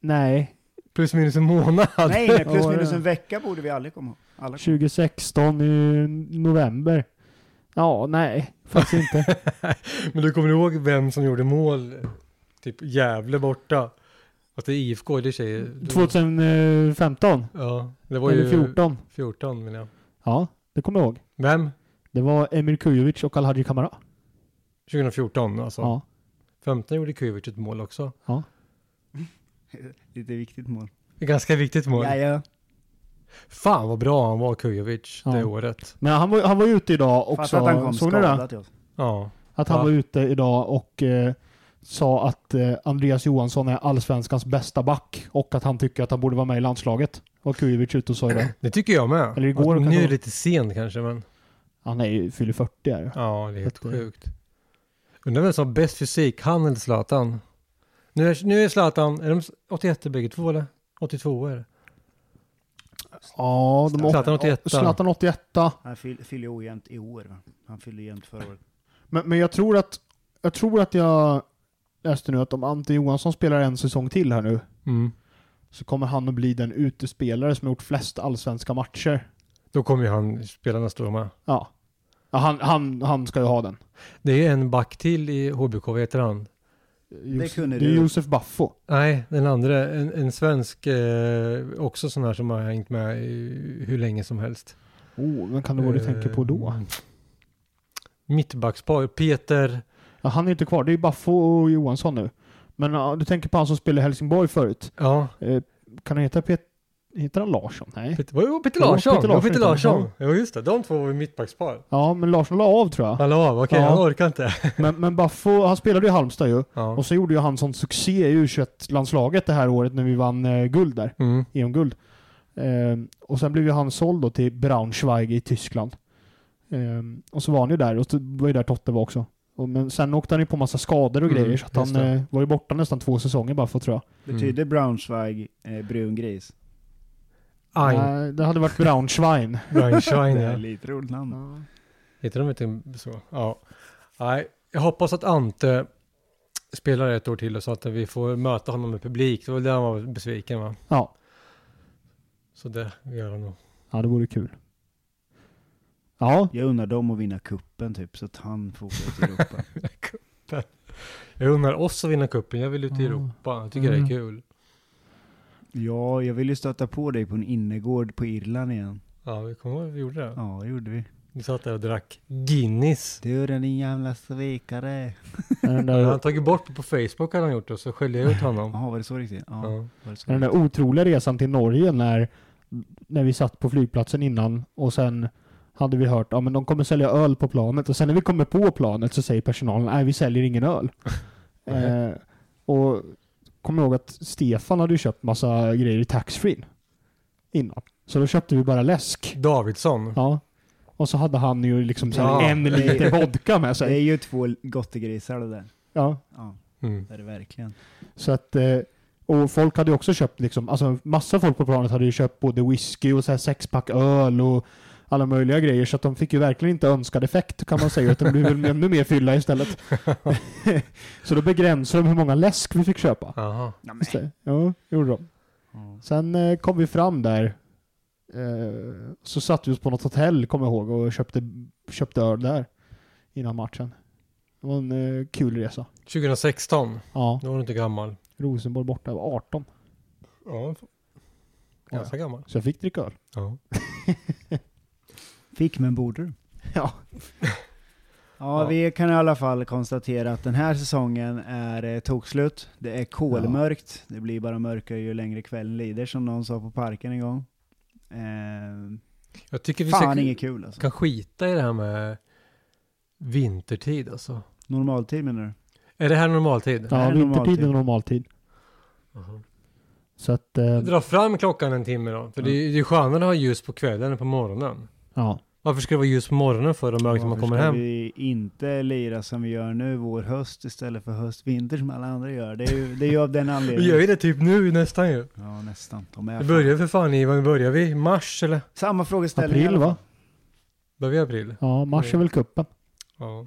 Nej,
Plus minus en månad?
Nej, nej,
Ja,
plus
det-
minus en vecka borde vi aldrig komma ihåg. Alla kom.
2016 i november. Ja, nej,
<laughs>
faktiskt inte.
Men du kommer ihåg vem som gjorde mål? Typ Gävle borta. Att det är IFK, det säger...
2015?
Ja, det var
Eller
ju...
14?
14 menar jag.
Ja, det kommer jag ihåg.
Vem?
Det var Emir Kujovic och Alhaji Kamara.
2014 alltså.
Ja.
15 gjorde Kujovic ett mål också.
Lite viktigt mål.
Ett ganska viktigt mål.
Ja, ja.
Fan vad bra han var Kujovic det
Ja.
året.
Men han var, han var ute idag
Fattar
också.
att han kom
Såg ni det?
skadad till oss.
Ja.
Att han
Ja.
var ute idag och eh, sa att eh, Andreas Johansson är allsvenskans bästa back och att han tycker att han borde vara med i landslaget. Var Kujovic ute och sa idag.
Det tycker jag med.
Eller igår
Fast nu
kanske
är det
var-
lite sent kanske men.
Han är ju fyller 40 är det.
Ja, det är helt
Att det-
sjukt. Undrar vem som har bäst fysik, han eller Zlatan? Nu är, nu är Zlatan, är de 81 bägge två eller? 82 är det.
Ja, de
Zlatan 81.
Zlatan 81.
Han fyll- fyller ojämnt i år. Va? Han fyllde jämnt förra året.
Men, men jag tror att jag tror att jag läste nu att om Ante Johansson spelar en säsong till här nu
Mm.
så kommer han att bli den utespelare som har gjort flest allsvenska matcher.
Då kommer ju han spela nästa år med.
Ja. ja han, han, han ska ju ha den.
Det är en back till i HBK, vad heter han?
Eh, Josef,
kunde
det är
du.
Josef Baffo.
Nej, den andra, en, en svensk, eh, också sån här som har hängt med i, hur länge som helst.
Oh, vem kan det vara du tänker på då?
Eh, Mittbackspar, Peter,
Ja, han är inte kvar. Det är ju Baffo och Johansson nu. Men ja, du tänker på han som spelade i Helsingborg förut.
ja,
Eh, kan han heta Pet- Heter han Larsson? Nej.
Peter, var det Peter
Jo,
Larsson?
Peter
Jo,
Larsson
Peter
heter han,
Larsson. Ja, just det, de två var ju mittbackspar.
Ja, men Larsson la av tror
<laughs>
jag.
Han la av, okej,
Ja.
han orkar inte.
Men, men Baffo, han spelade ju i Halmstad ju.
Ja.
Och så gjorde ju han sån succé i U21-landslaget det här året när vi vann eh, guld där.
Mm.
EM-guld. Ehm, och sen blev ju han såld då till Braunschweig i Tyskland. Ehm, och så var han ju där och så var ju där Totte var också. Och, men sen åkte han ju på massa skador och
Mm,
grejer så att
just
han eh, var ju borta nästan två säsonger bara för tror jag.
Betyder Braunschweig eh, brun gris?
Ein,
Nej, Eh, det hade varit Braunschwein.
Reinschein,
Det är
<laughs>
ja.
lite roligt namn.
Heter de inte så? Ja. Nej, jag hoppas att Ante spelar ett år till och så att vi får möta honom med publik. Det var det han var besviken va?
Ja.
Så det gör han nog.
ja, det vore kul. Ja,
Jag undrar dem att vinna kuppen typ, så att han får åka till Europa.
Jag undrar oss att vinna cupen. Jag vill ut i
Ja.
Europa. Jag tycker det
Mm.
är kul.
ja, jag ville ju stöta på dig på en innergård på Irland igen.
Ja, vi kommer ihåg att vi gjorde det.
Ja, det gjorde vi.
Vi satt där och drack Guinness.
Du den din jävla svikare.
när den
Han
där,
hade tagit bort det på Facebook hade han gjort och så skällde jag ut honom.
Jaha, var det så riktigt? Ja,
Ja.
Var det så
när den där otroliga resan till Norge när, när vi satt på flygplatsen innan och sen hade vi hört, ja men de kommer sälja öl på planet och sen när vi kommer på planet så säger personalen, nej vi säljer ingen öl. eh, och kommer ihåg att Stefan hade ju köpt massa grejer i taxfree innan. Så då köpte vi bara läsk.
Davidsson.
Ja. Och så hade han ju liksom så här
Ja.
en liter vodka med
Det är
sig.
ju två gottegrisar det där.
Ja.
Ja,
Mm.
det är det verkligen.
Så att, eh, och folk hade ju också köpt liksom, alltså massa folk på planet hade ju köpt både whisky och så här sexpack öl och alla möjliga grejer så att de fick ju verkligen inte önskad effekt kan man säga utan det blev väl ännu mer fylla istället. <laughs> så då begränsade de hur många läsk vi fick köpa.
Jaha.
Ja,
Just det. Ja, gjorde de.
men-
Sen eh, kom vi fram där. Eh, så satte vi oss på något hotell, kommer jag ihåg, och köpte, köpte öl där. Innan matchen. Det var en eh, kul resa.
2016.
Ja,
Då var du inte gammal.
Rosenborg borta, jag var 18.
Ja. Ganska gammal.
Så jag fick dricka öl.
Ja.
Fick men borde du.
Ja.
Ja,
Ja.
vi kan i alla fall konstatera att den här säsongen är eh, tokslut. Det är kolmörkt. Det blir bara mörkare ju längre kvällen lider, som någon sa på parken en gång. Eh,
Jag tycker vi
fan
ska,
inget kul alltså.
kan skita i det här med vintertid alltså.
Normaltid menar du?
Är det här normaltid?
Ja,
här är
vintertid
normaltid.
är normaltid.
Jaha.
Så att, eh,
Dra fram klockan en timme då. För det, är- det är skönare att ha ljus på kvällen än på morgonen.
ja.
Varför ska det vara ljus på morgonen för och mörkt när liksom, man
Varför
kommer
ska
hem?
vi inte lira som vi gör nu, vår-höst istället för höst-vinter som alla andra gör? Det är ju, det är ju av
<laughs>
den
Vi gör
anledningen.
ju det typ nu nästan ju.
Ja, nästan. De är
Det
fan-
börjar för fan i, vad börjar vi? Mars eller?
Samma frågeställning. i
April
alla fall.
va?
Börjar vi i april?
Ja, mars är väl kuppen.
Ja.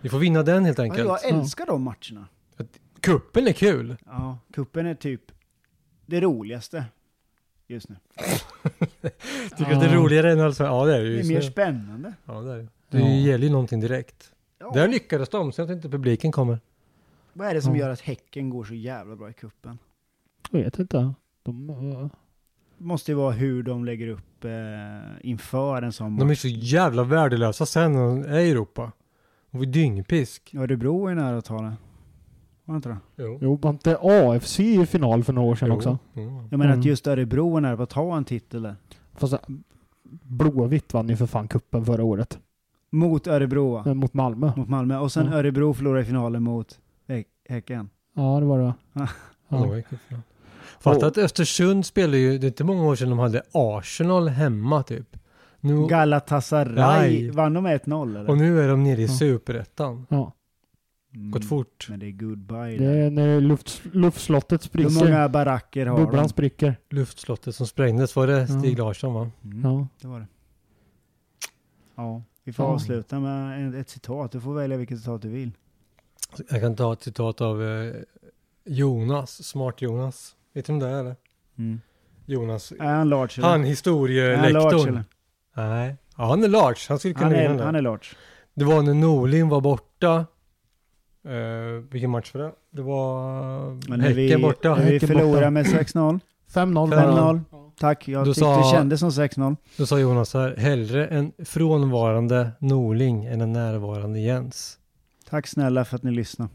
Vi får vinna den helt
Ja,
enkelt.
jag älskar de matcherna.
Kuppen är kul.
Ja, kuppen är typ det roligaste just nu.
Tycker du att det är
Ja.
roligare än allsvenskan? Ja det är det ju.
Det är
just
mer
nu.
spännande.
Ja det är det. Det
Ja.
gäller ju någonting direkt.
Ja.
Där lyckades de, så jag tror inte publiken kommer.
Vad är det som
Ja.
gör att Häcken går så jävla bra i kuppen?
Jag vet inte. De, eh,
Det måste ju vara hur de lägger upp eh, inför en sån
De är
match.
så jävla värdelösa sen när de är i Europa. De får dyngpisk.
Örebro är nära att ta det. Var det inte det?
Jo.
jo, var inte AFC i final för några år sedan också?
Jo.
Jag menar att
Mm.
just Örebro är nära på att ta en titel där.
Fast eh, Blåvitt vann ju för fan kuppen förra året.
Mot Örebro va?
Eh, Mot Malmö.
Mot Malmö. Och sen
Ja.
Örebro förlorar i finalen mot Hä- Häcken.
Ja, det var det.
Ah. Ja.
Ja.
Fatta att Östersund spelade ju, det är inte många år sedan de hade Arsenal hemma typ. Nu,
Galatasaray.
Nej.
Vann de med 1-0 eller?
och nu är de nere i
Ja.
superettan.
ja.
Mm.
Gått fort.
Men det är goodbye
Det
där.
är när luft, luftslottet
Hur
spricker.
många baracker har
Bubblan
de?
spricker.
Luftslottet som sprängdes, var det Stig
Ja.
Larsson va?
Mm.
Ja.
Det var det. Ja, vi får
Ja.
avsluta med en- ett citat. Du får välja vilket citat du vill.
Jag kan ta ett citat av eh, Jonas, Smart Jonas. Vet du om det är eller?
Mm.
Jonas.
Är han large eller?
Han
eh,
är han large
historielektorn.
eller?
Nej, ja, han är large. Han skulle kunna
Han är,
vinna den.
han är large.
Det var när Norling var borta. Eh, vilken match var det? Det var
Men när
Häcken
vi,
borta.
När vi
Häcken
förlorar
borta.
med 6-0.
5-0
5-0. Tack, jag
Du
tyckte
sa-
det kändes som 6-0.
Då sa Jonas så här. Hellre en frånvarande Norling än en närvarande Jens.
Tack snälla för att ni lyssnade.